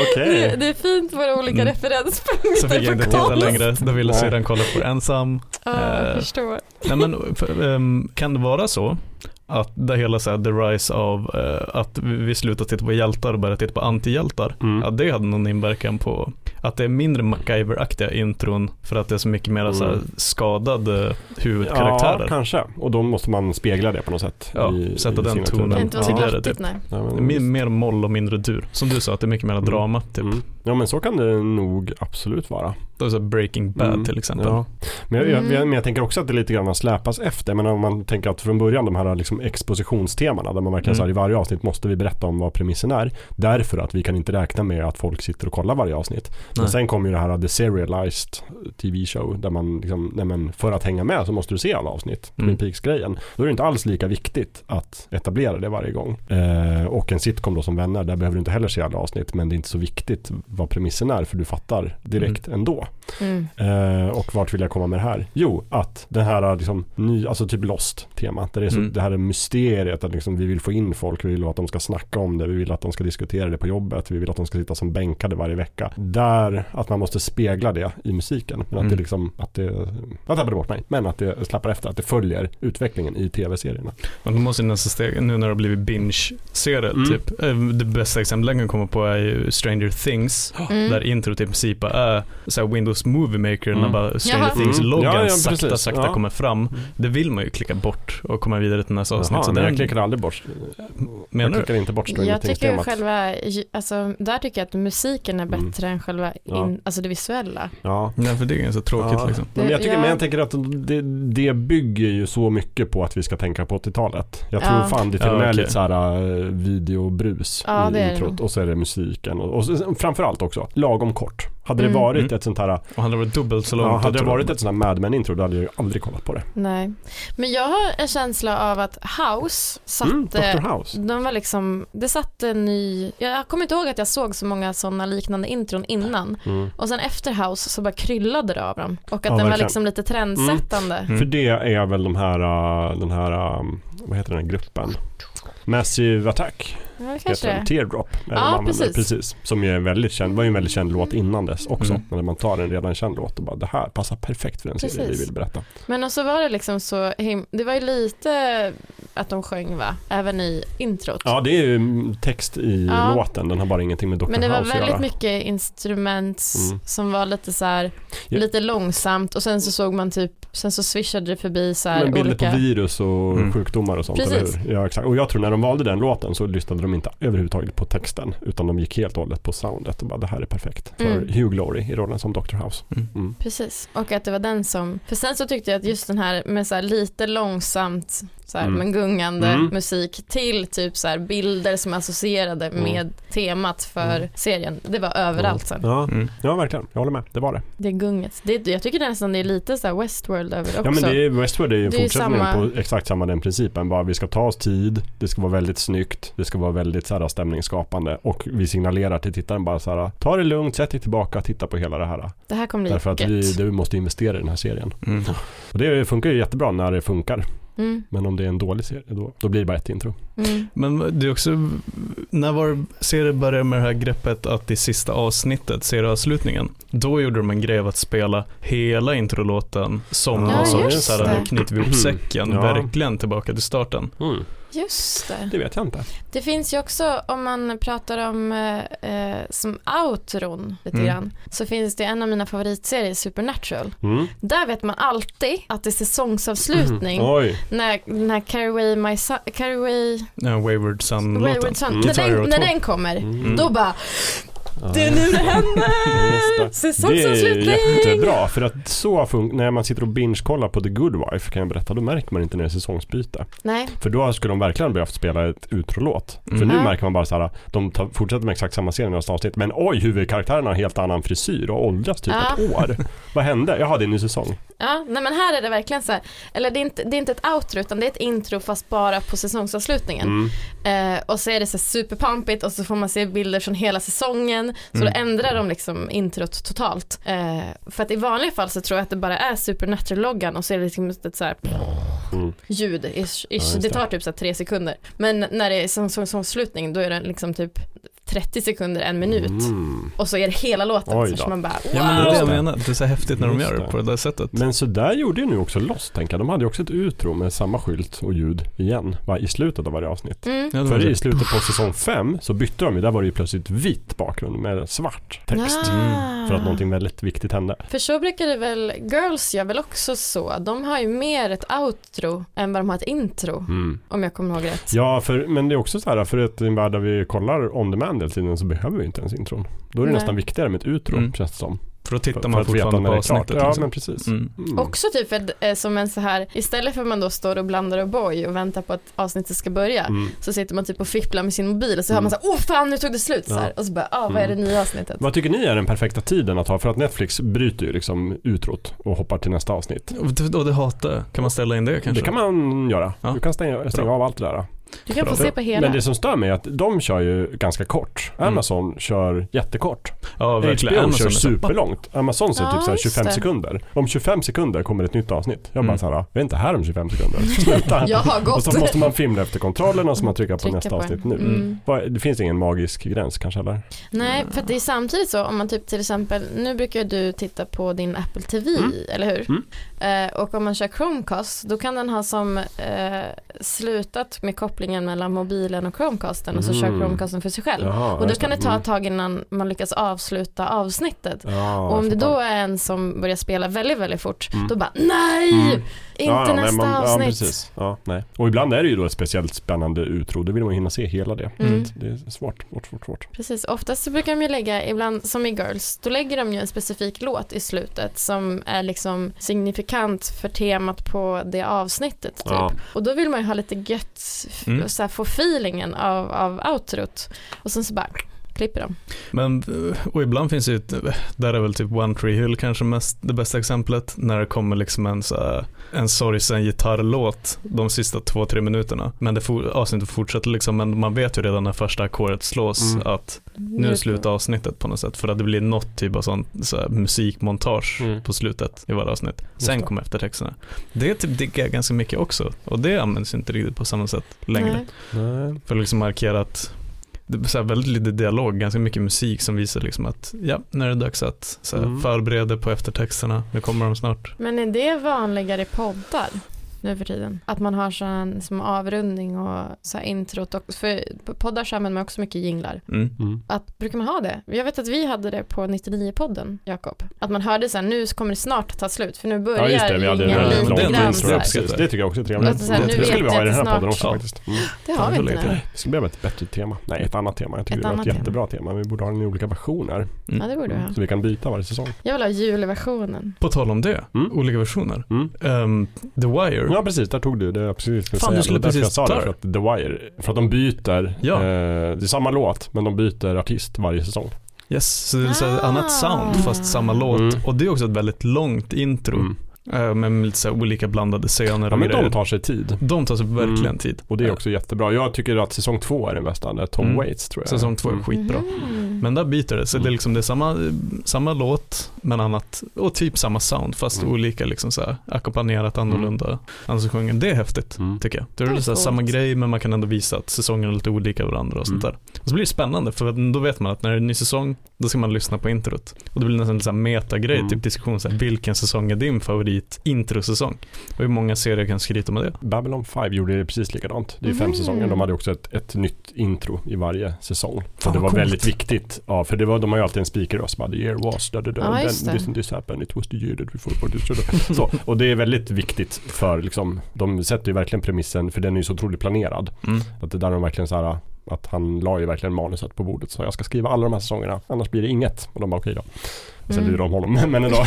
Okej. Det, det är fint våra olika Mm. referenspunkter Så fick jag inte på titta konst. längre, då ville Nej. syrran kolla på det ensam. Ja, jag Eh. förstår. Nej, men, för, ehm, kan det vara så att det hela så här, the rise av eh, att vi vi slutar titta på hjältar och börjar titta på antihjältar, Mm. att det hade någon inverkan på att det är mindre MacGyver-aktiga intron för att det är så mycket mer så här, Mm. skadade Ja, huvudkaraktärer. kanske. Och då måste man spegla det på något sätt. Ja, sätta den signaturen. tonen. Men- Det kan inte vara så Ja. glattigt, Tidigare, typ. nej. Ja, men- Mer, mer moll och mindre dur. Som du sa, att det är mycket mer drama. Typ. Mm. Ja men så kan det nog absolut vara. Det är så här Breaking Bad Mm, till exempel. Ja. Men, jag, jag, Mm. men jag tänker också att det lite grann släpas efter. Men om man tänker att från början de här liksom expositionsteman där man verkligen Mm. så här, i varje avsnitt måste vi berätta om vad premissen är. Därför att vi kan inte räkna med att folk sitter och kollar varje avsnitt. Men Nej. sen kommer ju det här The Serialized TV show där man liksom, nej men för att hänga med så måste du se alla avsnitt. Mm. Twin Peaks-grejen. Då är det inte alls lika viktigt att etablera det varje gång. Eh, och en sitcom då som Vänner, där behöver du inte heller se alla avsnitt. Men det är inte så viktigt vad premissen är för du fattar direkt ändå. Mm. Eh, och vart vill jag komma med det här? Jo, att det här liksom, ny, alltså typ Lost-temat. Där det, är så, Mm. det här är mysteriet, att liksom, vi vill få in folk, vi vill att de ska snacka om det, vi vill att de ska diskutera det på jobbet, vi vill att de ska sitta som bänkade varje vecka. Där, att man måste spegla det i musiken. Men att Mm. det liksom, att det, jag tappade bort mig, men att det släpper efter, att det följer utvecklingen i tv-serierna. Men då måste ju nästa steg, nu när det har blivit binge-serier Mm. typ. Eh, Det bästa exemplet jag kan komma på är ju Stranger Things. Mm. Där introt i princip bara är så här Windows Movie Maker Mm. när bara Stranger Jaha. Things-loggan Mm. Ja, ja, sakta, precis. sakta Ja. Mm. kommer fram. Det vill man ju klicka bort och komma vidare till nästa avsnitt. Jaha, så men den, jag klickar aldrig bort, jag menar du? klickar inte bort Stranger Jag tycker Things-temat. själva, alltså, där tycker jag att musiken är Mm. bättre än själva in, Ja. alltså det visuella. Ja. Nej, för det är ganska tråkigt Ja. liksom. Men jag, tycker, Ja. men jag tänker att det, det bygger ju så mycket på att vi ska tänka på 80-talet. Jag tror Ja. fan det till och Ja, med är okej. lite så här eh, videobrus Ja, i det är det introt nog. och så är det musiken och, och så, framförallt allt också. Lagom kort. Hade det Mm. varit Mm. ett sånt här, Och hade det varit dubbelt så långt. ja, hade det tror jag. varit ett sånt här Mad Men-intro, då hade jag ju aldrig kollat på det. Nej. Men jag har en känsla av att House Mm, satte Dr. House. De var liksom, det satte en ny, jag kommer inte ihåg att jag såg så många sådana liknande intron innan. Mm. Och sen efter House så bara kryllade det av dem. Och att Ja, den var verkligen. liksom lite trendsättande. Mm. För det är väl de här, uh, den här, um, vad heter den här gruppen? Massive Attack Ja, kanske heter den, det. Teardrop. är den Ja, de använder. precis. precis. Som ju är en väldigt känd, var ju en väldigt känd låt innan dess också. Mm. När man tar en redan känd låt och bara det här passar perfekt för den serie vi Precis. vill berätta. Men och så var det liksom så, him- det var ju lite att de sjöng va, även i introt. Ja, det är ju mm, text i Ja. låten, den har bara ingenting med Dr. Men det var House att göra. väldigt mycket instrument Mm. som var lite så här, Ja. lite långsamt och sen så såg man typ, sen så swishade det förbi så här Men bilder olika. på virus och Mm. sjukdomar och sånt, Precis. eller hur? Ja, exakt. Och jag tror när de valde den låten så lyssnade de inte överhuvudtaget på texten, utan de gick helt och hållet på soundet och bara det här är perfekt för Mm. Hugh Glory i rollen som Dr. House. Mm. Mm. Precis, och att det var den som, för sen så tyckte jag att just den här med så här lite långsamt, så här, Mm. men gungande Mm. musik till typ så här bilder som är associerade Mm. med temat för Mm. serien, det var överallt sen. Ja. Mm. ja, verkligen. Jag håller med. Det var det. Det gunget, det, jag tycker nästan det är lite så här Westworld över det också. Ja, men det är, Westworld är ju Det är ju fortsättningen samma- på exakt samma den principen. Bara, vi ska ta oss tid, det ska vara väldigt snyggt, det ska vara väldigt så här, stämningsskapande och vi signalerar till tittaren bara så här, ta det lugnt, sätt dig tillbaka, titta på hela det här. Det här kommer bli Därför att gött. vi, du måste investera i den här serien. Mm. Och det funkar ju jättebra när det funkar. Mm, Men om det är en dålig serie, då, då blir det bara ett intro. mm. Men det är också, när var serien började med det här greppet att i sista avsnittet, serieavslutningen, då gjorde de en grej av att spela hela introlåten som Ja, någon sorts just så här, det. nu knyter vi ihop Mm. säcken, Ja. verkligen tillbaka till starten. Just det. Det vet jag inte. Det finns ju också, om man pratar om eh, eh, som outron lite Mm. grann, så finns det en av mina favoritserier, Supernatural. Där vet man alltid att det är säsongsavslutning Oj. när, när Carry Away My Son, Carry Away Ja, Eh, Wayward Sun-låten. Wayward Son, Mm. när, Guitar Hero den, när 2. den kommer, Mm. då bara det är nu det händer! Just Det Säsongsavslutning! är jättebra för att så funkar, när man sitter och binge-kollar på The Good Wife kan jag berätta, då märker man inte när det är säsongsbyte. Nej, För då skulle de verkligen behövt spela ett utrolåt. Mm. För nu Ja. märker man bara så här, de tar, fortsätter med exakt samma scen i nästa avsnitt, men oj, huvudkaraktären har en helt annan frisyr och åldras typ Ja. ett år. Vad hände? Jaha, det är en ny säsong. ja, nej men här är det verkligen så här, eller det är, inte, det är inte ett outro utan det är ett intro fast bara på säsongsavslutningen. Mm. Eh, och så är det så här superpampigt och så får man se bilder från hela säsongen. Så då Mm. ändrar de liksom introt totalt. Eh, för att i vanliga fall så tror jag att det bara är Supernatural-loggan och så är det liksom ett så här Mm. ljud. Ish, ish. just det det. tar typ så här tre sekunder. Men när det är säsongsavslutning då är det liksom typ 30 sekunder, en minut. Mm. Och så är det hela låten. Oj Så då. man bara wow. Ja men det är det jag Wow. menar, det är så häftigt när de Just gör det det. på det där sättet. Men så där gjorde ju nu också Lost, tänker jag. De hade ju också ett utro med samma skylt och ljud igen, va, i slutet av varje avsnitt. Mm. Ja, det var För i det. slutet på säsong 5 så bytte de ju, där var det ju plötsligt vit bakgrund med svart text. Ah. Mm. För att någonting väldigt viktigt hände. För så brukar det väl, Girls gör väl också så. De har ju mer ett outro än vad de har ett intro. Om jag kommer ihåg rätt. Ja, för, men det är också så här, för att i en värld där vi kollar on demand hela tiden så behöver vi inte ens intron. Då är det Nej. nästan viktigare med ett utro, Mm. känns det som. För då tittar För- man för att veta fortfarande när på det är klart. avsnittet. Ja, liksom. men precis. Mm. Mm. Också typ ett, eh, som en så här, istället för att man då står och blandar och boy och väntar på att avsnittet ska börja Mm. så sitter man typ och fipplar med sin mobil och så hör Mm. man så här, åh fan nu tog det slut så här. Ja. Mm. och så bara, ah vad är det nya avsnittet? Vad tycker ni är den perfekta tiden att ha? För att Netflix bryter ju liksom utrot och hoppar till nästa avsnitt. Och det- Och det hatar jag. Kan man ställa in det kanske? Det kan man göra. Ja. Du kan stänga, stänga Bra. av allt det där. Du kan få Bra. se på hela. Men det som stör mig är att de kör ju ganska kort. Mm. Amazon kör jättekort. Ja, verkligen. HBO Amazon kör är så- superlångt. Amazon säger Ja, typ så här just 25 det. sekunder. Om 25 sekunder kommer ett nytt avsnitt. Jag bara Mm. så här, vi är inte här om 25 sekunder. Sluta. Jag har Och gått. så måste man filma efter kontrollen och så man trycka på Trycka nästa på den. avsnitt nu. Mm. Vad- Det finns ingen magisk gräns kanske eller? Nej, Mm. för att det är samtidigt så om man typ till exempel, nu brukar du titta på din Apple TV, Mm. eller hur? Eh, och om man kör Chromecast, då kan den ha som eh, slutat med kopplingen mellan mobilen och Chromecasten och så kör Mm. Chromecasten för sig själv. Jaha, och då just kan det ta Mm. ett tag innan man lyckas avsluta avsnittet. Ja, Och jag om det fattar. då är en som börjar spela väldigt, väldigt fort, Mm. då bara nej, Mm. inte Ja, ja, nej, nästa man- Ja, avsnitt. precis. Ja, nej. Och ibland är det ju då ett speciellt spännande utro. Då vill man ju hinna se hela det. Mm. Det är svårt, svårt, svårt, svårt. Precis, oftast så brukar de ju lägga, ibland som i Girls, då lägger de ju en specifik låt i slutet som är liksom signifikant för temat på det avsnittet typ. Ja. Och då vill man ju ha lite gött, f- Mm. och så här, få feelingen av, av outrot. Och sen så bara klipp klipper dem. Men, eh, och ibland finns det ju, ett- där är väl typ One Tree Hill kanske mest, det bästa exemplet, när det kommer liksom en, så här, en sorgsen gitarrlåt de sista två, tre minuterna. Men det for, avsnittet fortsätter liksom, men man vet ju redan när första ackordet slås Mm. att nu slutar avsnittet på något sätt, för att det blir något typ av sån, så här, musikmontage Mm. på slutet i varje avsnitt. Just Sen det. kommer eftertexterna. Det typ diggar jag ganska mycket också, och det används ju inte riktigt på samma sätt längre. Nej. Nej. För att liksom markera att det är så här väldigt lite dialog, ganska mycket musik som visar liksom att ja, nu är det dags att så här, Mm. förbereda dig på eftertexterna, nu kommer de snart. Men är det vanligare i poddar nu för tiden? Att man har så en som avrundning och så här introt. Och, för på poddar så använder man också mycket jinglar. Mm. Mm. Att, brukar man ha det? Jag vet att vi hade det på 99-podden, Jakob. Att man hörde så här, nu kommer det snart ta slut för nu börjar Ja just det, vi hade ingen jingeln väldigt liten långt gräns intro. här. Ja, glansa. precis. Det tycker jag också är Och trevligt. så här, nu det skulle vet vi ha i den här jag podden också snart. faktiskt. Mm. Det har vi inte Ja, nu. Det skulle behöva ett bättre tema. Nej, ett annat tema. Jag tycker Ett det var annat ett tema. jättebra tema. Vi borde ha den i olika versioner. Ja, det borde vi ha. Så vi kan byta varje säsong. Jag vill ha julversionen. På tal om det, Mm. olika versioner. Mm. Ehm, The Wire, Ja precis, där tog du det jag precis skulle Fan, säga. du skulle Det var därför precis jag sa ta det, för att The Wire, för att de byter, Ja. eh, det är samma låt men de byter artist varje säsong. yes, så det är så här, ett Ah. annat sound fast samma låt. Mm. Och det är också ett väldigt långt intro Mm. eh, med lite så här, olika blandade scener Ja och men grejer. de tar sig tid. de tar sig verkligen Mm. tid. Och det är också jättebra. Jag tycker att säsong två är den bästa, det är Tom Mm. Waits tror jag. Säsong två är Mm. skitbra. Mhm. Men där byter det, så det är liksom det är samma, samma låt men annat, och typ samma sound fast Mm. olika liksom så här, ackompanjerat annorlunda. Alltså sjungen, det är häftigt Mm. tycker jag. Då är Det är det så här, coolt. samma grej men man kan ändå visa att säsongerna är lite olika varandra och sånt Mm. där. Och så blir det spännande för att då vet man att när det är en ny säsong då ska man lyssna på introt. Och det blir nästan lite så här metagrej, Mm. typ diskussion så här, vilken säsong är din favorit introsäsong? Och hur många serier kan skryta med det? Babylon 5 gjorde det precis likadant. Det är fem Mhm. säsonger. De hade också ett, ett nytt intro i varje säsong. Så Fan, det var vad coolt. väldigt viktigt. Ja, för det var, de har ju alltid en speakerröst. bara, The year was, da, da, da, Ja, then just det. this and this happened, it was the year that we fought for this. da, da. Så, och det är väldigt viktigt för liksom, de sätter ju verkligen premissen, för den är ju så otroligt planerad. Mm. Att det där är de verkligen så här, att han la ju verkligen manuset på bordet. Så jag ska skriva alla de här säsongerna, annars blir det inget. Och de bara okej då. Och sen Mm. lurade de honom, men ändå.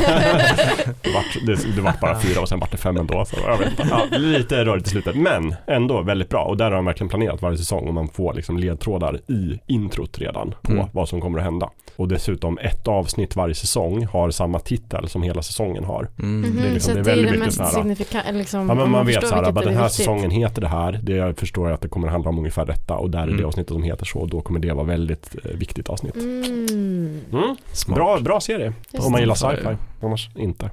det, vart, det, det vart bara fyra och sen vart det fem ändå. Så jag vet inte. Ja, lite rörigt i slutet, men ändå väldigt bra. Och där har de verkligen planerat varje säsong och man får liksom ledtrådar i introt redan på Mm. vad som kommer att hända. Och dessutom ett avsnitt varje säsong har samma titel som hela säsongen har. Mm. liksom- Mhm, så det är det är väldigt det mycket mest så här, signifikanta, liksom, Ja, men om man vet förstår så här, vilket bara är den här viktigt. säsongen heter det här. Det jag förstår jag att det kommer handla om ungefär detta och där är Mm. det avsnittet som heter så och då kommer det vara väldigt eh, viktigt avsnitt. Mm. Mm. Smart. Bra, bra serie, Just om man det. gillar det. sci-fi. Annars inte.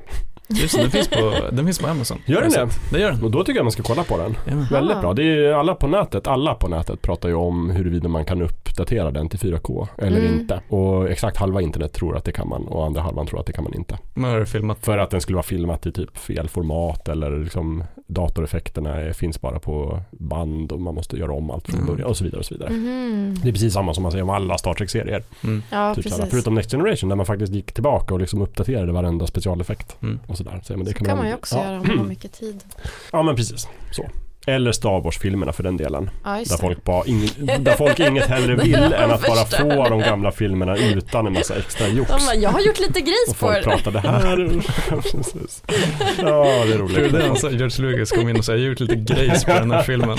Just det, den finns på, den finns på Amazon. Gör den det? Det gör den. Och då tycker jag man ska kolla på den. Jajamän. Väldigt bra. Det är ju alla på nätet, alla på nätet pratar ju om huruvida man kan uppdatera den till 4K eller Mm. inte. Och exakt halva internet tror att det kan man och andra halvan tror att det kan man inte. Man har filmat För att den skulle vara filmat i typ fel format eller liksom datoreffekterna är- finns bara på band och man måste göra om allt från Mm. början och så vidare och så vidare. Mhm. Det är precis samma som man säger om alla Star Trek-serier. Ja, typ sådär. precis. Förutom Next Generation där man faktiskt gick tillbaka och liksom uppdaterade varenda specialeffekt. Mm. Och sådär. Så, ja, men det Så kan man ju också ja. göra om man har mycket tid. Ja men precis. Så. Eller Star Wars-filmerna för den delen. Ja, just Där det. folk, bara, ingen, där folk inget hellre vill än att bara få Förstörde. de gamla filmerna utan en massa extra jox. De bara, jag har gjort lite Och gris på folk det. pratar det här. Precis. ja, det är Tror du det? Han roligt. sa- George Lucas kom in och sa, jag har gjort lite grejs på den här filmen.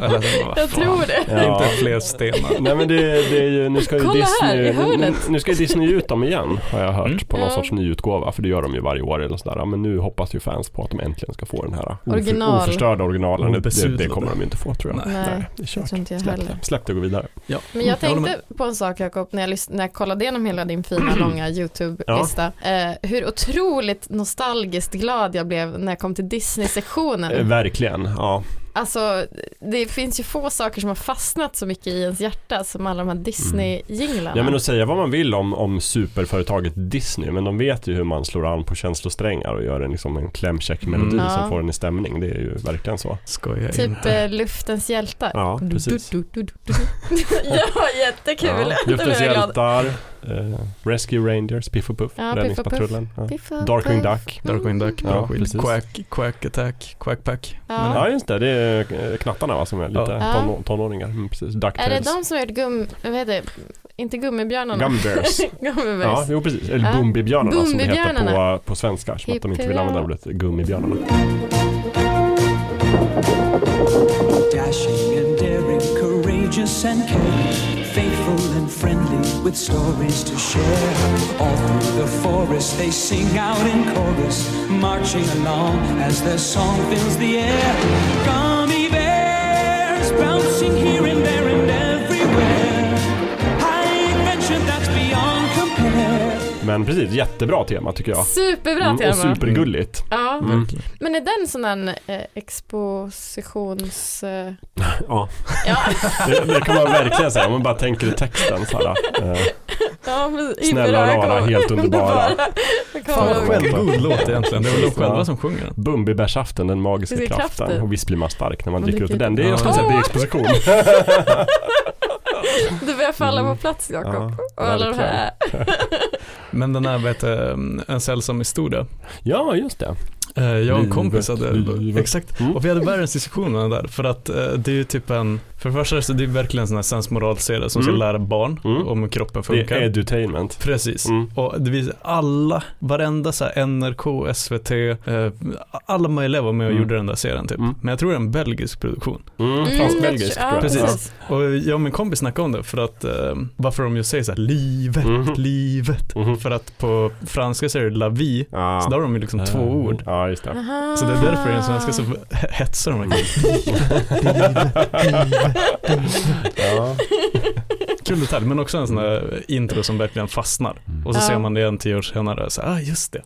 Alltså, Eller, Jag tror det. Ja. Inte fler stenar. Nej men det, det är ju, nu ska ju Kolla här, i Disney, nu, hörnet. nu ska ju Disney ut dem igen har jag hört Mm. på någon Ja. sorts nyutgåva för det gör de ju varje år eller sådär. Men nu hoppas ju fans på att de äntligen ska få den här oför, Original. oförstörda originalen. Det, det, det Obesudlade. kommer de ju inte få tror jag. Nej. det är Jag kört. tror inte jag Släpp heller. det. Släpp det och gå vidare. Ja. Men jag håller med. tänkte på en sak Jakob, när jag, lys- när jag kollade igenom hela din fina långa YouTube-lista. Eh, hur otroligt nostalgiskt glad jag blev när jag kom till Eh, Disney-sektionen. Verkligen, ja. Alltså, det finns ju få saker som har fastnat så mycket i ens hjärta som alla de här Disney-jinglarna. Ja men att säga vad man vill om, om superföretaget Disney men de vet ju hur man slår an på känslosträngar och gör en, liksom, en klämkäck melodi Mm. Ja. som får en i stämning. Det är ju verkligen så. Skoja Typ inte. eh, Luftens hjältar. Ja, precis. Du, du, du, du, du. ja, jättekul. Ja, Då blev Luftens jag glad. hjältar, eh, Rescue Rangers, Piff och Puff, Ja, Piff och Räddningspatrullen, ja. Piff och Darkwing Puff. Duck. Darkwing Duck, bra Ja, skit. precis. Quack, quack attack, quack pack. Ja. Ja just det, det är eh, knattarna va, som är lite Ja. tonå- tonåringar. Mm, precis. Är det Ducktails. de som har gjort gum... Vad heter det? Inte gummibjörnarna. Gumbears. Ja, Gummibjörns. jo precis. Eller Ja. Bumbibjörnarna som det heter Bumbibjörnarna. på, på svenska. Som att de inte vill Hippie, använda ja. ordet gummibjörnarna. Dashing and daring, courageous and caring, faithful and friendly with stories to share. All through the forest they sing out in chorus, marching along as their song fills the air. Gummy bears bouncing here and there and everywhere. High adventure that's beyond compare. Men precis, jättebra tema tycker jag. Superbra Mm, tema. och supergulligt. Ja. Mm. Men är den sån där eh, expositions... Eh, Ja. ja, Det, det kan man verkligen säga om man bara tänker i texten så här. eh, ja, men Snälla Ibra rara, kom- helt underbara. Jag Fan kommer vad ihåg. självgod låt egentligen. Det är väl de Precis, ja. själva som sjunger den. Bumbibärsaften, den magiska Vilken kraft kraften. det är. Och visst blir man stark när man, Man dricker ut dricker ur den. ut Det är, den. jag skulle säga, Ja. det är exposition. Du börjar falla på plats Jakob. Ja, och alla de här. Men den här, vad heter det, En sällsam historia. Ja, just det. Eh, Jag och en Livet, kompis hade, livet. exakt, Mm. och vi hade världens diskussion om det där för att eh, det är ju typ en, för det första så det är verkligen en sån här sensmoralserie som Mm. ska lära barn Mm. om hur kroppen Det funkar. är edutainment. Precis. Mm. Och det visar alla, varenda så här NRK, SVT, eh, alla möjliga var med och Mm. gjorde den där serien typ. Mm. Men jag tror det är en belgisk produktion. Mm, Mm, Fransk-belgisk jag tror- ja, tror jag. precis. Och jag och min kompis snackade om det för att eh, varför de ju säger så här livet, Mhm. livet. Ja. Mhm. För att på franska så är det la vie, Ja. så där har de ju liksom två Eh, ord. Ja, just det. Aha. Så det är därför den svenska så hetsar de verkligen. Mm. Ja. Kul detalj, men också en sån där intro som verkligen fastnar. Mm. Och så Ja. ser man det en tio år senare, så ah just det.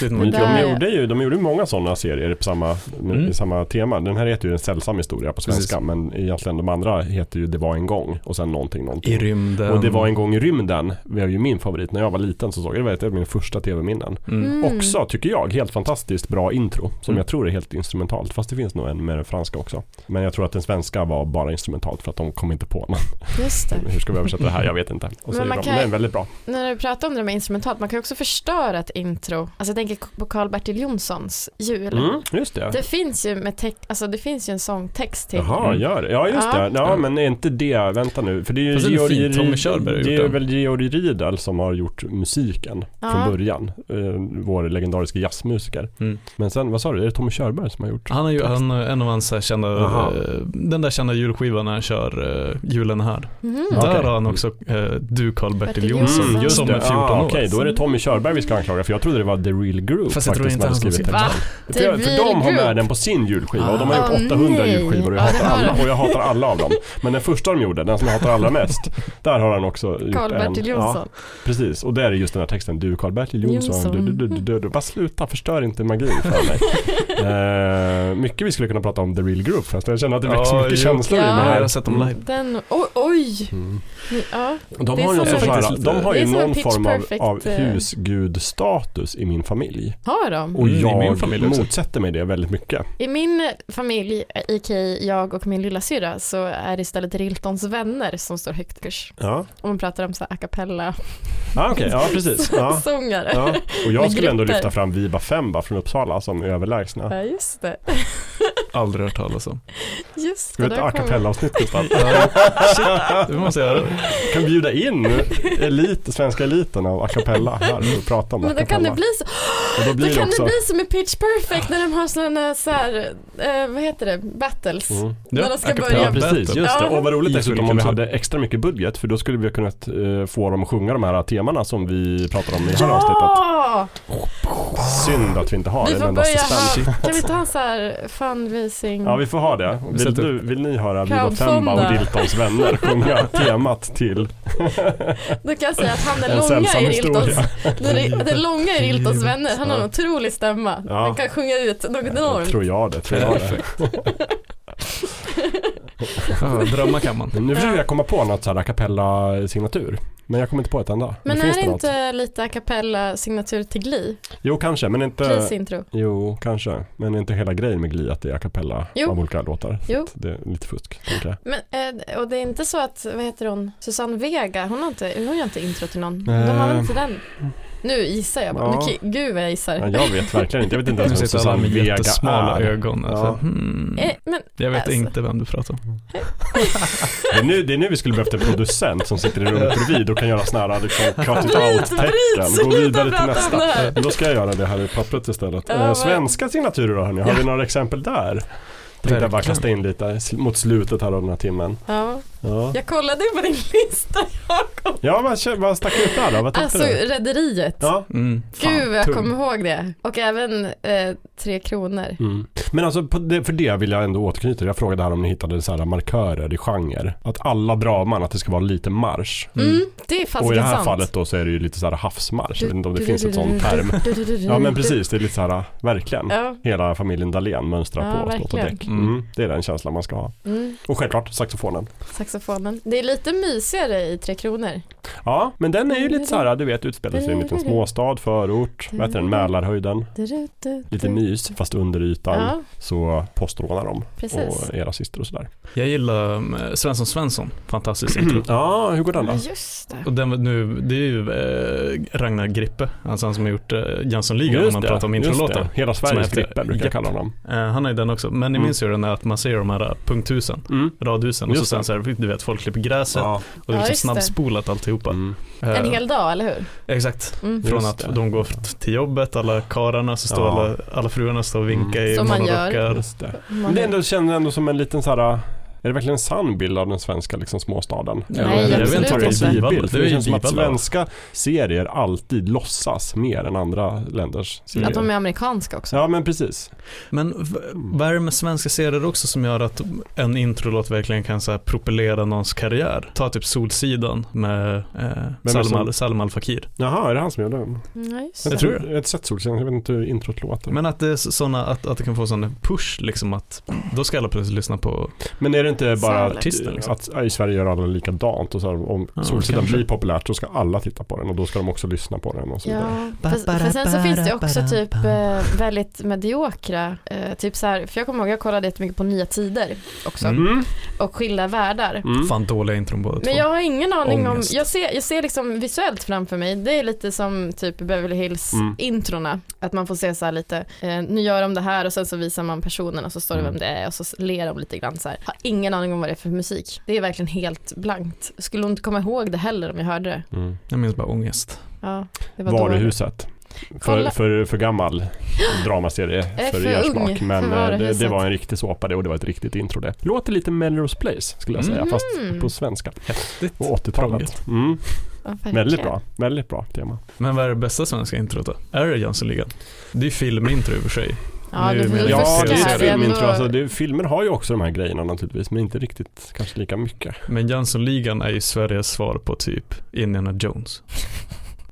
det. är Men en- Där, de, ja. gjorde ju, de gjorde ju många sådana serier på samma, Mm. i samma tema. Den här heter ju En sällsam historia på svenska, Precis. men egentligen de andra heter ju Det var en gång och sen någonting, någonting. I rymden. Och det var en gång i rymden, det var ju min favorit. När jag var liten så såg jag det, det var min första tv-minnen. Mm. Mm. Också, tycker jag, helt fantastiskt bra intro. Som Mm. jag tror är helt instrumentalt. Fast det finns nog en med den franska också. Men jag tror att den svenska var bara instrumentalt för att de kom inte på någon. Just det. Hur ska vi översätta det här? Jag vet inte. Och så Men är det man bra. kan- Men den är väldigt bra. När du pratar om det med instrumentalt, man kan ju också förstöra ett intro. Alltså jag tänker på Karl-Bertil Jonssons jul. Mm, just det. Typ, Det finns ju med text, alltså det finns ju en sångtext till. Jaha, Mm. gör det. Ja, just Ja. det. Ja, men är inte det, vänta nu. För det är ju Fast det är Georg fint. Tommy Ri- Körberg har Det gjort är den. väl Georg Riedel som har gjort musiken Ja. från början. Eh, vår legendariska jazzmusiker. Mm. Men sen, vad sa du, är det Tommy Körberg som har gjort? Han är ju han, är en av hans så här kända, Aha. eh, den där kända julskivan när han kör eh, julen är här. Mhm. Okej. Där har han också eh, du Karl-Bertil Bertil Jonsson Mm, just som det. är 14 ah, år. Okej, då är det Tommy Körberg vi ska anklaga för jag trodde det var The Real Group Fast jag tror faktiskt inte hade han som skrivit skrev- texten. Va? För jag- För de har med den på sin julskiva och de har Ah. gjort Åh, 800 nej. julskivor och jag Ja, det hatar har alla de. och jag hatar alla av dem. Men den första de gjorde, den som jag hatar allra mest, där har han också gjort Karl-Bertil en. Jonsson. Precis, och där är just den här texten. Du Karl-Bertil Jonsson, Jonsson. du, du, du, du, du, du. Bara sluta, förstör inte magin för mig. Eh, mycket vi skulle kunna prata om The Real Group förresten. Jag känner att det väcker så Ja, mycket jo. känslor i Ja. mig här. Jag har sett dem live. Den, oj, oj. Ja. De Det är har ju, som också en- så här, faktiskt lite- de har det är ju som en någon Pitch form av, Perfect, av eh, husgudstatus i min familj. Har de? Och Mm, i jag min familj också. motsätter mig det väldigt mycket. I min familj, IK jag och min lilla syra, så är det istället Riltons vänner som står högt kurs. Ja, Om man pratar om så här a cappella ah, okej, ja precis. Ja. sångare. Ja. Och jag Med skulle ändå grupper. lyfta fram Viba Femba från Uppsala som överlägsna. Ja, just det. Aldrig hört talas om. Just Ska det, vi ha ett där a kommer- cappella-avsnitt Gustav? Det måste jag göra. kan bjuda in elit, svenska eliten av a cappella här och prata om a Men då kan det cappella. bli så, Och då blir då det kan det också... bli som i Pitch Perfect när de har sådana så här, eh, vad heter det, battles. Mm. När de ska a cappella börja- Ja Ja, precis, battle. just det. Ja. Och vad roligt I dessutom om vi Fulkultur. hade extra mycket budget för då skulle vi ha kunnat eh, få dem att sjunga de här temana som vi pratar om i det här avsnittet. Ja! Synd att vi inte har Vi en får enda börja assistent. ha, kan vi inte ha en så här fundraising? Ja vi får ha det. Vill, sätter du, vill ni höra Viva Femba Crowdfunda. och Diltons vänner sjunga temat till Då kan jag säga att han är En långa sällsam i Riltons, historia. den, är- den långa i Riltons vänner, han har en Ja. otrolig stämma. Ja. Han kan sjunga ut något enormt. Tror jag det, tror jag det. Ja, Drömma kan man. Men Nu försöker jag komma på något så här a cappella signatur. Men jag kommer inte på ett enda. Men finns är det något? inte lite a cappella signatur till Gli? Jo kanske, men inte... Glis intro. Jo, kanske. Men är inte hela grejen med Gli att det är a cappella Jo. av olika låtar. Jo. Det är lite fusk, tänker jag. Men, eh, och det är inte så att, vad heter hon, Susanne Vega, hon har inte, hon har inte intro till någon. De har väl inte den? Nu gissar jag bara, Eh. Ja. Nu ki- gud vad jag gissar. Ja, jag vet verkligen inte. Jag vet inte Nu ens vem sitter alla Susanne med Vega jättesmala är. ögon. Alltså. Ja. Hmm. Eh, men, Jag vet Alltså. inte vem du pratar om. Det, är nu, det är nu vi skulle behövt en producent som sitter i rummet bredvid och kan göra sådana här liksom, cut it bryt, out-tecken. Gå vidare sluta till prata om nästa. det här. Men Då ska jag göra det här i pappret istället. Ja, Eh, vad- Svenska signaturer då hörni, har vi några exempel där? Tänkte jag bara Verkligen. kasta in lite sl- mot slutet här av den här timmen. Ja. Ja, Jag kollade på din lista Jakob. ja vad, kä- vad stack ut där då? Vad tänkte Alltså du? Rederiet. Ja. Mm, fan, Gud vad jag tung. kommer ihåg det. Och även eh, Tre Kronor. Mm. Men alltså på det, för det vill jag ändå återknyta. Jag frågade här om ni hittade så här markörer i genre. Att alla draman, att det ska vara lite marsch. Mm, det är fasiken Och i det här sant. fallet då så är det ju lite så här havsmarsch. Jag vet inte om det Du- finns du- ett du- sån du- term. du- du- du- du- Ja men du- precis, det är lite så här, verkligen. Ja, Hela familjen Dahlén mönstrar Ja, på och står på verkligen. däck. Mm. Mm. Det är den känslan man ska ha. mm, Och självklart saxofonen. saxofonen. Det är lite mysigare i Tre Kronor. Ja, men den är ju lite så här, du vet, utspelar sig i en liten småstad, förort, vad heter den, Mälarhöjden. Du- du- du- Lite du- mys, fast under ytan Ja, så postrånar de precis. och era syster och sådär. Jag gillar um, Svensson Svensson, fantastiskt intro. Ja, hur går den Ja, då? just det. Och den, var nu, det är ju eh, Ragnar Grippe, alltså han som har gjort eh, Jönssonligan om man pratar om just introlåtar. det. Hela Som Sveriges heter- Grippe brukar jag Japp. kalla honom. Eh, han är ju den också, men ni Mm. minns ju den där att man ser de här punkthusen, Mm. radhusen och så Just det. sen så här, du vet folk klipper gräset Ja. och det Ja, är liksom just det. snabbspolat alltihopa. Mm. Eh, En hel dag, eller hur? Exakt. Mm. Från Just att det. de går till jobbet, alla kararna, så står Ja. alla, alla fruarna står och vinkar Mm. i Som man gör. morgonrockar. Just det. Mm. Men det ändå, känns ändå som en liten så här, är det verkligen en sann bild av den svenska liksom, småstaden? Nej, jag vet absolut inte om det inte. är en bild. Det för är Det ju känns som att bibel, va? svenska serier alltid låtsas mer än andra länders serier. Att de är amerikanska också. Ja men precis. Men v- vad är det med svenska serier också som gör att en introlåt verkligen kan så här propellera någons karriär? Ta typ Solsidan med eh, är Salman, som- Salman Al-Fakir. Jaha, är det han som gör den? Ja, just Jag det. tror Jag har inte sett Solsidan, jag vet inte hur introt låter. Men, Men att det är såna, att, att det kan få sån push liksom att då ska alla plötsligt lyssna på är det inte bara att, Artister, liksom. att äh, i Sverige gör alla likadant och så här, om Ja, Solsidan kanske. blir populärt så ska alla titta på den och då ska de också lyssna på den och så vidare. Ja, för, för sen så finns det också typ eh, väldigt mediokra, eh, typ så här, för jag kommer ihåg jag kollade jättemycket på Nya Tider också Mm. och Skilda Världar. Mm. fan dåliga intron båda två. Men jag har ingen aning Ångest. om, jag ser, jag ser liksom visuellt framför mig, det är lite som typ Beverly Hills Mm. introna, att man får se så här lite, eh, nu gör de det här och sen så visar man personen och så står det Mm. vem det är och så ler de lite grann så här. Har ingen aning om vad det är för musik. Det är verkligen helt blankt. Skulle inte komma ihåg det heller om jag hörde det. Mm. Jag minns bara ångest. Ja, det var dåligt. Varuhuset. För, Kolla. för, för gammal dramaserie Eh, för, för er ung smak. för Men eh, det, det varuhuset. var en riktig såpa det och det var ett riktigt intro det. Låter lite Melrose Place skulle jag säga, Mm. fast på svenska. Häftigt. På 80-talet. Proggigt. Mm. Ja, verkligen. Väldigt bra, väldigt bra tema. Men vad är det bästa svenska introt då? Är det Jönssonligan? Det är ju filmintro i och för sig. Ja, Nu du, menar du jag. Ja, fuskar. det är Filmserie. ändå. filmintro. Alltså, det, filmer har ju också de här grejerna naturligtvis, men inte riktigt kanske lika mycket. Men Jönssonligan är ju Sveriges svar på typ Indiana Jones.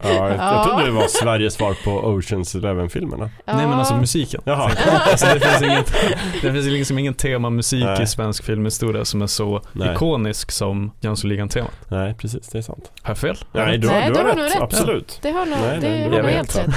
Ja, jag, jag Ja. trodde det var Sveriges svar på Oceans Eleven-filmerna. Nej men alltså Ja. musiken. Jaha. Alltså, det, finns inget, det finns liksom ingen temamusik Nej. i svensk filmhistoria som är så Nej. ikonisk som Jönssonligan-temat. Nej, precis, det är sant. Har jag fel? Nej, du, har- Nej, du då har har rätt. du rätt. Absolut. Det har nog, Nej, det nej, har det nog är väl helt helt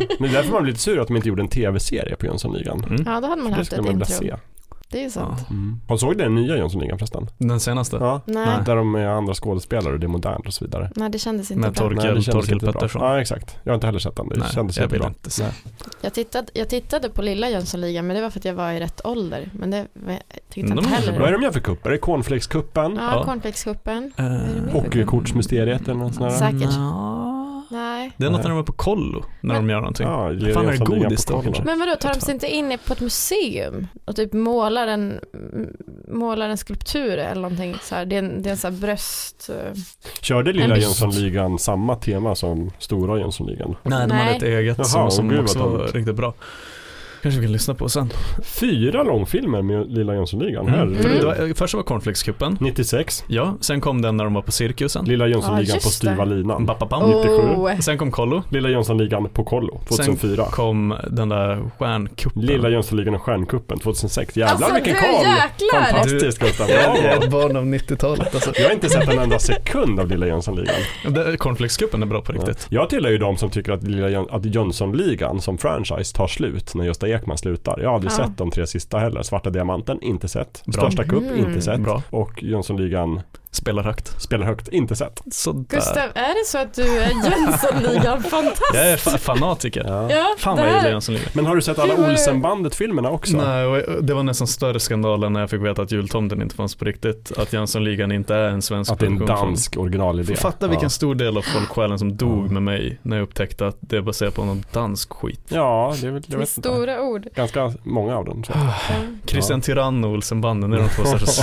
rätt. Men därför var man lite sur att de inte gjorde en tv-serie på Jönssonligan. Mm. Ja, då hade man Det haft skulle ett man vilja intro. se. Det är ju Ja. sant. Mm. Har såg den nya Jönssonligan förresten? Den senaste? Ja. Nej. Där de är andra skådespelare och det är modernt och så vidare. Nej, det kändes inte Med bra. Nej, det Torkel, kändes Torkel inte bra. Pettersson? Ja, exakt. Jag har inte heller sett den. Det Nej, kändes jag vill jättebra. inte se. Nej. Jag tittade, jag tittade på lilla Jönssonligan, men det var för att jag var i rätt ålder. Men det var- jag tyckte De jag är inte heller. Vad är om. Mm, de gör för kupp? Är det cornflakescupen? Ja, Ja. cornflakescupen. det mer? Eh, Hockeykortsmysteriet eller något sånt där? Säkert. Nja. Nej. Det är något när de är på kollo, när de Men- gör någonting. Ja, Fan, är det Jönssonligan på godis då, kollo. kanske? Men vadå, tar de sig inte in på ett museum och typ målar en, m- målar en skulptur eller någonting? Så här, det är en, det är en så här bröst... eh, Körde lilla Men- Jönssonligan samma tema som stora Jönssonligan? Nej, de Nej. hade ett eget Jaha, som, åh, som gud, också vad var tråkigt. riktigt bra. Kanske vi kan lyssna på sen. Fyra långfilmer med lilla Jönssonligan. Här. Mm. För det, Mm. det var, först var cornflakeskuppen. 96. Ja, sen kom den när de var på cirkusen. Lilla Jönssonligan Ja, på just styva det. linan. Bappapam. 97. Oh. Sen kom kollo. Lilla Jönssonligan på kollo 2004. kom den där stjärnkuppen. Lilla Jönssonligan och Stjärnkuppen 2006. Jävlar Alltså, vilken du, koll! jäklar! Fantastiskt Gustav, bravo! barn av 90-talet alltså. Jag har inte sett en enda sekund av Lilla Jönssonligan. Cornflakeskuppen är bra på riktigt. Jag tillhör ju de som tycker att, Lilla Jön- att Jönssonligan som franchise tar slut när Gösta Ekman slutar. Jag har aldrig Ja. sett de tre sista heller. Svarta Diamanten, inte sett. Bra. Största Cup, Mm. inte sett. Bra. Och Jönssonligan Spelar högt. Spelar högt, inte sett. Sådär. Gustav, är det så att du är Jönssonligan-fantast? Jag är fa- fanatiker. Ja, Fan vad det jag gillar här, Jönssonligan. Men har du sett alla Hur var det? Olsenbandet-filmerna också? Nej, och det var nästan större skandal än när jag fick veta att jultomten inte fanns på riktigt. Att Jönssonligan inte är en svensk Att det är en produktion. dansk originalidé. Fatta vilken stor del av folksjälen som dog med mig när jag upptäckte att det är baserat på någon dansk skit. Ja, det är väl, jag med vet inte. stora ord. Ganska många av dem. Så. Christian Tyrann och Olsenbanden är de två största.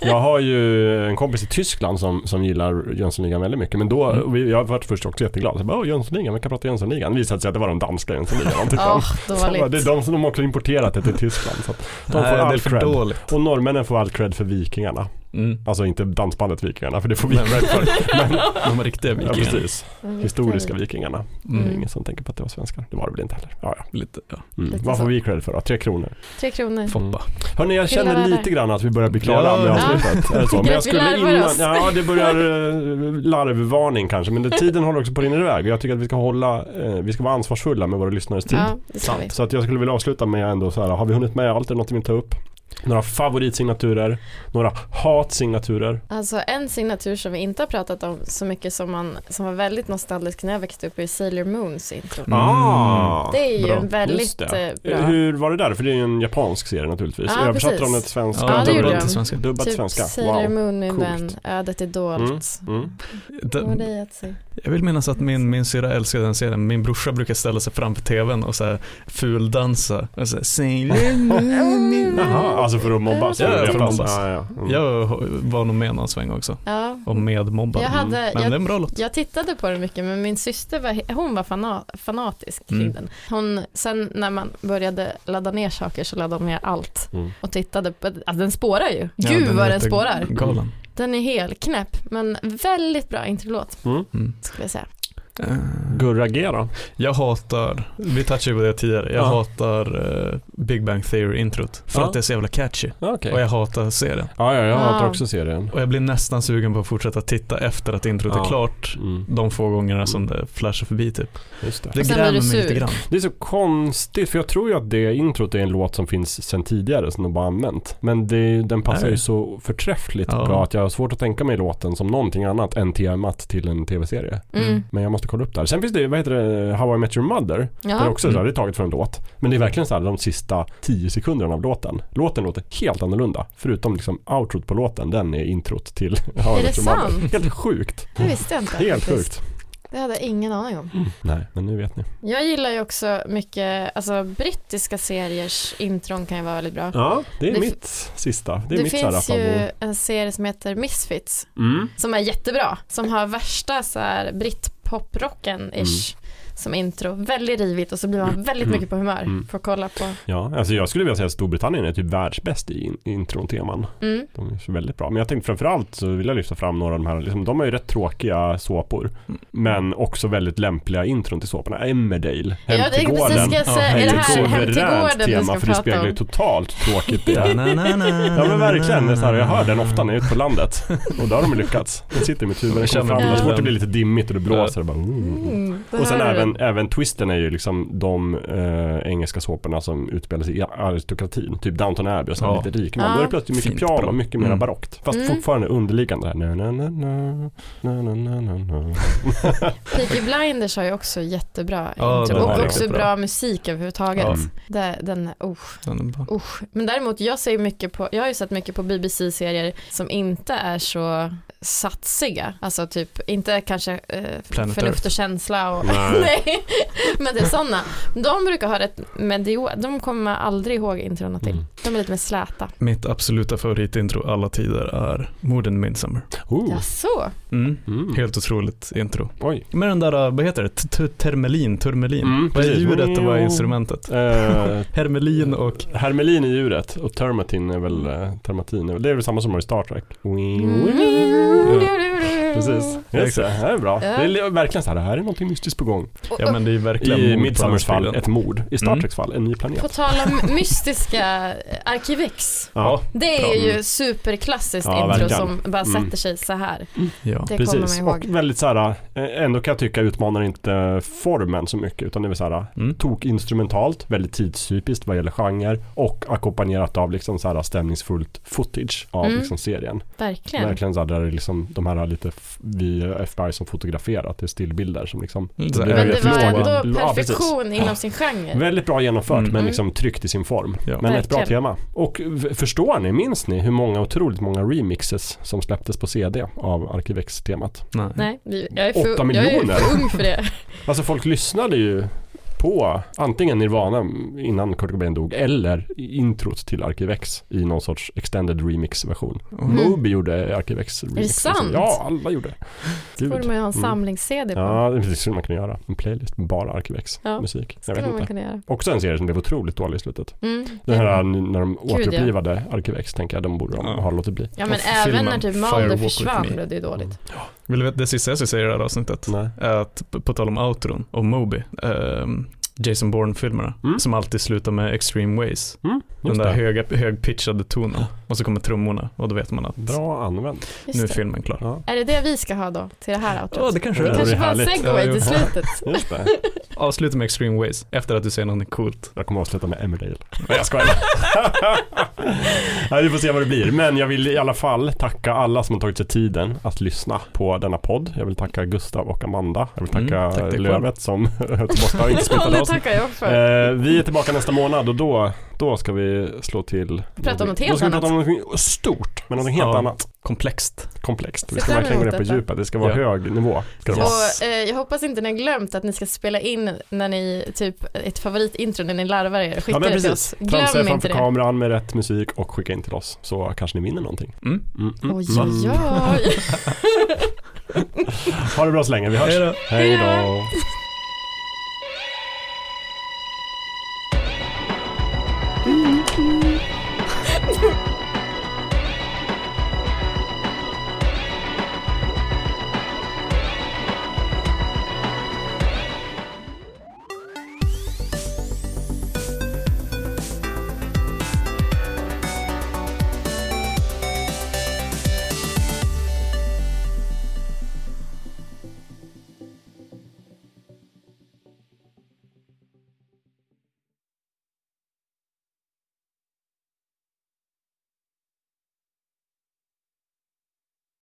Jag har ju en kompis i Tyskland som, som gillar Jönssonligan väldigt mycket. Men då, Mm. och vi, jag var först också jätteglad. Så jag bara, "Åh, Jönssonligan, vi kan prata Jönssonligan. Det visade sig att det var de danska Jönssonligan. de tyckte Ja, om. Så bara, dåligt. Det är de som de också importerat det till Tyskland. Så att de får Nej, det är all för cred. dåligt. Och norrmännen får all cred för vikingarna. Mm. Alltså inte dansbandet Vikingarna, för det får vi. Men Redford, men de var riktiga Ja, vikingar. precis. Historiska vikingarna. Det är Mm. ingen som tänker på att det var svenskar. Det var det väl inte heller. Ja, ja. Lite, ja. Mm. Lite Vad får så. vi cred för då? Tre kronor. Tre kronor. Foppa. Hörni, jag Killar känner där. lite grann att vi börjar bli klara Ja. med avsnittet. Är det så? Men jag Vi skulle larvar innan, oss. ja det börjar eh, larvvarning kanske, men det, tiden håller också på att rinna iväg. Jag tycker att vi ska hålla, eh, vi ska vara ansvarsfulla med våra lyssnares tid. Ja, det ska vi. Så att jag skulle vilja avsluta med ändå så här, har vi hunnit med allt? Är det något vi inte tar upp? Några favoritsignaturer, några Mm. hatsignaturer. Alltså en signatur som vi inte har pratat om så mycket som, man, som var väldigt nostalgisk när jag växte upp är Sailor Moons intro. Ah, Det är ju bra. en just väldigt det. eh, bra. Hur var det där? För det är ju en japansk serie naturligtvis. Ja, Översatte precis. de det till svenska? Ja, det gjorde dubblat de. till svenska. Dubbat till svenska? Typ Sailor wow. Moon min coolt. vän, ödet är Mm, dolt. mm. Den- Går dig att se. Jag vill minnas att min, min syra älskade den serien. Min brorsa brukar ställa sig framför tvn och så här fuldansa. Och så här, Sailor Moon, min vän." Jaha, alltså för att mobbas? Ja, ja, för att Japan. mobbas. Ja, ja. Mm. Jag var nog med någon sväng också. Ja. Och medmobbad. Jag hade- Mm. Men jag- det är en bra låt. Jag tittade på den mycket men min syster var, he- hon var fana, fanatisk kring Mm. den. Hon, sen när man började ladda ner saker så laddade hon ner allt Mm. och tittade på, alltså den spårar ju. Ja, Gud vad är den lite spårar. Galen. Den är helt knäpp men väldigt bra introlåt Mm. skulle jag säga. Eh, Gurra G då? Jag hatar, vi touchade på det tidigare, jag Ja. hatar eh, Big Bang Theory-introt. För Ja. att det är så jävla catchy. Ja, Okej. Och jag hatar serien. Ja, ja, jag hatar Ah. också serien. Och jag blir nästan sugen på att fortsätta titta efter att introt Ja. är klart. Mm, De få gångerna som det flashar förbi typ. just det. Det Och sen blir grämer du mig lite sur. grann. det är så konstigt, för jag tror ju att det introt är en låt som finns sen tidigare som de bara använt. Men det, den passar Nej. ju så förträffligt Ja. bra att jag har svårt att tänka mig låten som någonting annat än temat till en tv-serie. Mm. Mm. Men jag måste kolla upp det här. Sen finns det, vad heter det, How I Met Your Mother. Det är Ja. också så här, Mm. det är taget från en låt. Men det är verkligen så här de sista tio sekunderna av låten. Låten låter helt annorlunda. Förutom liksom outrot på låten, den är introt till How Är I det Met Your Mother. sant? Helt sjukt. Det visste jag inte. Helt faktiskt. sjukt. Det hade jag ingen aning om. Nej, men nu vet ni. Jag gillar ju också mycket, alltså brittiska seriers intron kan ju vara väldigt bra. Ja, det är Det- mitt sista. Det är mitt finns så här favorit. ju en serie som heter Misfits Mm. som är jättebra, som har värsta så här britpoprocken ish som intro. Väldigt rivigt och så blir man väldigt mycket på humör Mm. för att kolla på. Ja, alltså jag skulle vilja säga att Storbritannien är typ världsbäst i in- intron-teman. Mm. De är så väldigt bra. Men jag tänkte framförallt så vill jag lyfta fram några av de här, liksom, de har ju rätt tråkiga såpor. Mm. Men också väldigt lämpliga intron till såporna. Emmerdale, Hem Ja, det till är gården. precis ska jag säga. Ja, är det ett här Hem till suveränt gården du tema ska för det prata speglar ju om? totalt tråkigt det är. Ja Ja men verkligen, det är så här, jag hör den ofta när jag är ute på landet. Och där har de lyckats. Den sitter i mitt huvud, den kommer fram, det är så fort det blir lite dimmigt och det blåser. Bara, mm. Mm, det Och sen här är- även, även twisten är ju liksom de eh, engelska såporna som utspelar sig i aristokratin. Typ Downton Abbey och så här Ja. lite rik man. Då är det plötsligt mycket Fint piano, bra. mycket mer Mm. barockt. Fast Mm. fortfarande underliggande det här. Na, na, na, na, na, na, na, na. Peaky Blinders har ju också jättebra Ja, intro den och är också riktigt bra. bra. musik överhuvudtaget. Ja. Det, den, usch. Den- Usch. Men däremot, jag, ser ju mycket på, jag har ju sett mycket på BBC-serier som inte är så satsiga. Alltså typ, inte kanske eh, Planet förnuft Earth. och känsla och Nej. nej. Men det är sådana. De brukar ha rätt medio, de kommer man aldrig ihåg introna till. Mm. De är lite mer släta. Mitt absoluta favoritintro alla tider är Morden Midsummer. Oh. Jaså? Mm. Mm. Helt otroligt intro. Oj. Med den där, vad heter det? T- t- Termelin, turmelin. Mm, vad är precis. djuret och vad är Mjau. instrumentet? Eh, Hermelin och... Hermelin är djuret och Mm. Termatin är väl, eh, termatin är väl, det är väl samma som var i Star Trek. Precis. Just det, det här är bra. Ja. Det är li- verkligen så här, det här är någonting mystiskt på gång. Och, Ja och, men det är ju verkligen mord I på Midsummers fall, landsbygden. ett mord. I Star Mm. Treks fall, en ny planet. på tal om mystiska eh, Arkivex. Ja, Det Bra. är ju Mm. superklassiskt Ja, intro verkligen. som bara Mm. sätter sig så här. Ja. Det kommer man precis. ihåg. Och väldigt så här, eh, ändå kan jag tycka utmanar inte formen så mycket, utan det är väl så här, Mm. tok instrumentalt, väldigt tidstypiskt vad gäller genre och ackompanjerat av liksom så här stämningsfullt footage av Mm. liksom serien. Verkligen. Verkligen så här, där det är liksom de här lite f- vi eh, FBI som fotograferat, det är stillbilder som liksom Mm, så här, blir Men det väldigt var låga- ändå Ja, precis. perfektion Ja. inom sin genre. Väldigt bra genomfört Mm. men liksom tryckt i sin form. Ja. Men ett bra Verkligen. tema. Och v- förstår ni, minns ni hur många otroligt många remixes som släpptes på CD av Arkivex-temat? Nej. Nej, vi- jag är, Åtta för, jag är för miljoner. ung för det. Alltså folk lyssnade ju på antingen Nirvana innan Kurt Cobain dog eller introt till Arkivex i någon sorts extended remix-version. Mm. Moby gjorde Arkivex remix. sant? Ja, alla gjorde. Så borde man ju ha en Mm. samlings-CD på. Ja, det skulle man kunna göra. En playlist med bara Arkivex-musik. Jag Skulle vet man inte. kunna göra. Också en serie som blev otroligt dålig i slutet. Mm. Den här n- när de ja. återupplivade Arkivex tänker jag, de borde de Ja. ha låtit bli. Ja men Och även filmen när typ Mulder Firewalk with försvann me. blev det typ- ju Mm. dåligt. Vill du veta det sista jag ska säga i det här avsnittet? Nej. är att på- på tal om outron och Moby, ehm, Jason Bourne-filmerna, Mm. som alltid slutar med extreme ways. Mm, Den just där det. höga, högpitchade tonen och så kommer trummorna och då vet man att Bra använt. nu är Just det. filmen klar. Ja, Är det det vi ska ha då till det här outrot? Ja, det kanske det det är. kanske vore var en härligt. segway Ja, jo. till slutet. just det. Avsluta med extreme ways efter att du säger något coolt. Jag kommer avsluta med Emmerdale. Nej jag skojar. Nej, vi får se vad det blir. Men jag vill i alla fall tacka alla som har tagit sig tiden att lyssna på denna podd. Jag vill tacka Gustav och Amanda. Jag vill tacka Mm, tack dig Lövet som borta inte Ja, smittade det oss. tackar jag för. Eh, vi är tillbaka nästa månad och då, då ska vi slå till. Prata om något helt Då ska vi prata annat. om något stort, men något helt Ja. annat. Komplext. komplext. Vi Ser ska fram verkligen gå ner emot på detta. djupet. Det ska vara Ja. hög nivå. Ska det Ja. vara. Och eh, jag hoppas inte ni har glömt att ni ska spela in när ni, typ ett favoritintro när ni larvar er. Skicka Ja, men det till precis. oss. Framsäg Glöm inte framför det. Oj, kameran med rätt musik och skicka in till oss så kanske ni vinner någonting. Mm. Mm, mm, oj, mm. oj. Ha det bra så länge. Vi hörs. Hej då. Hej då.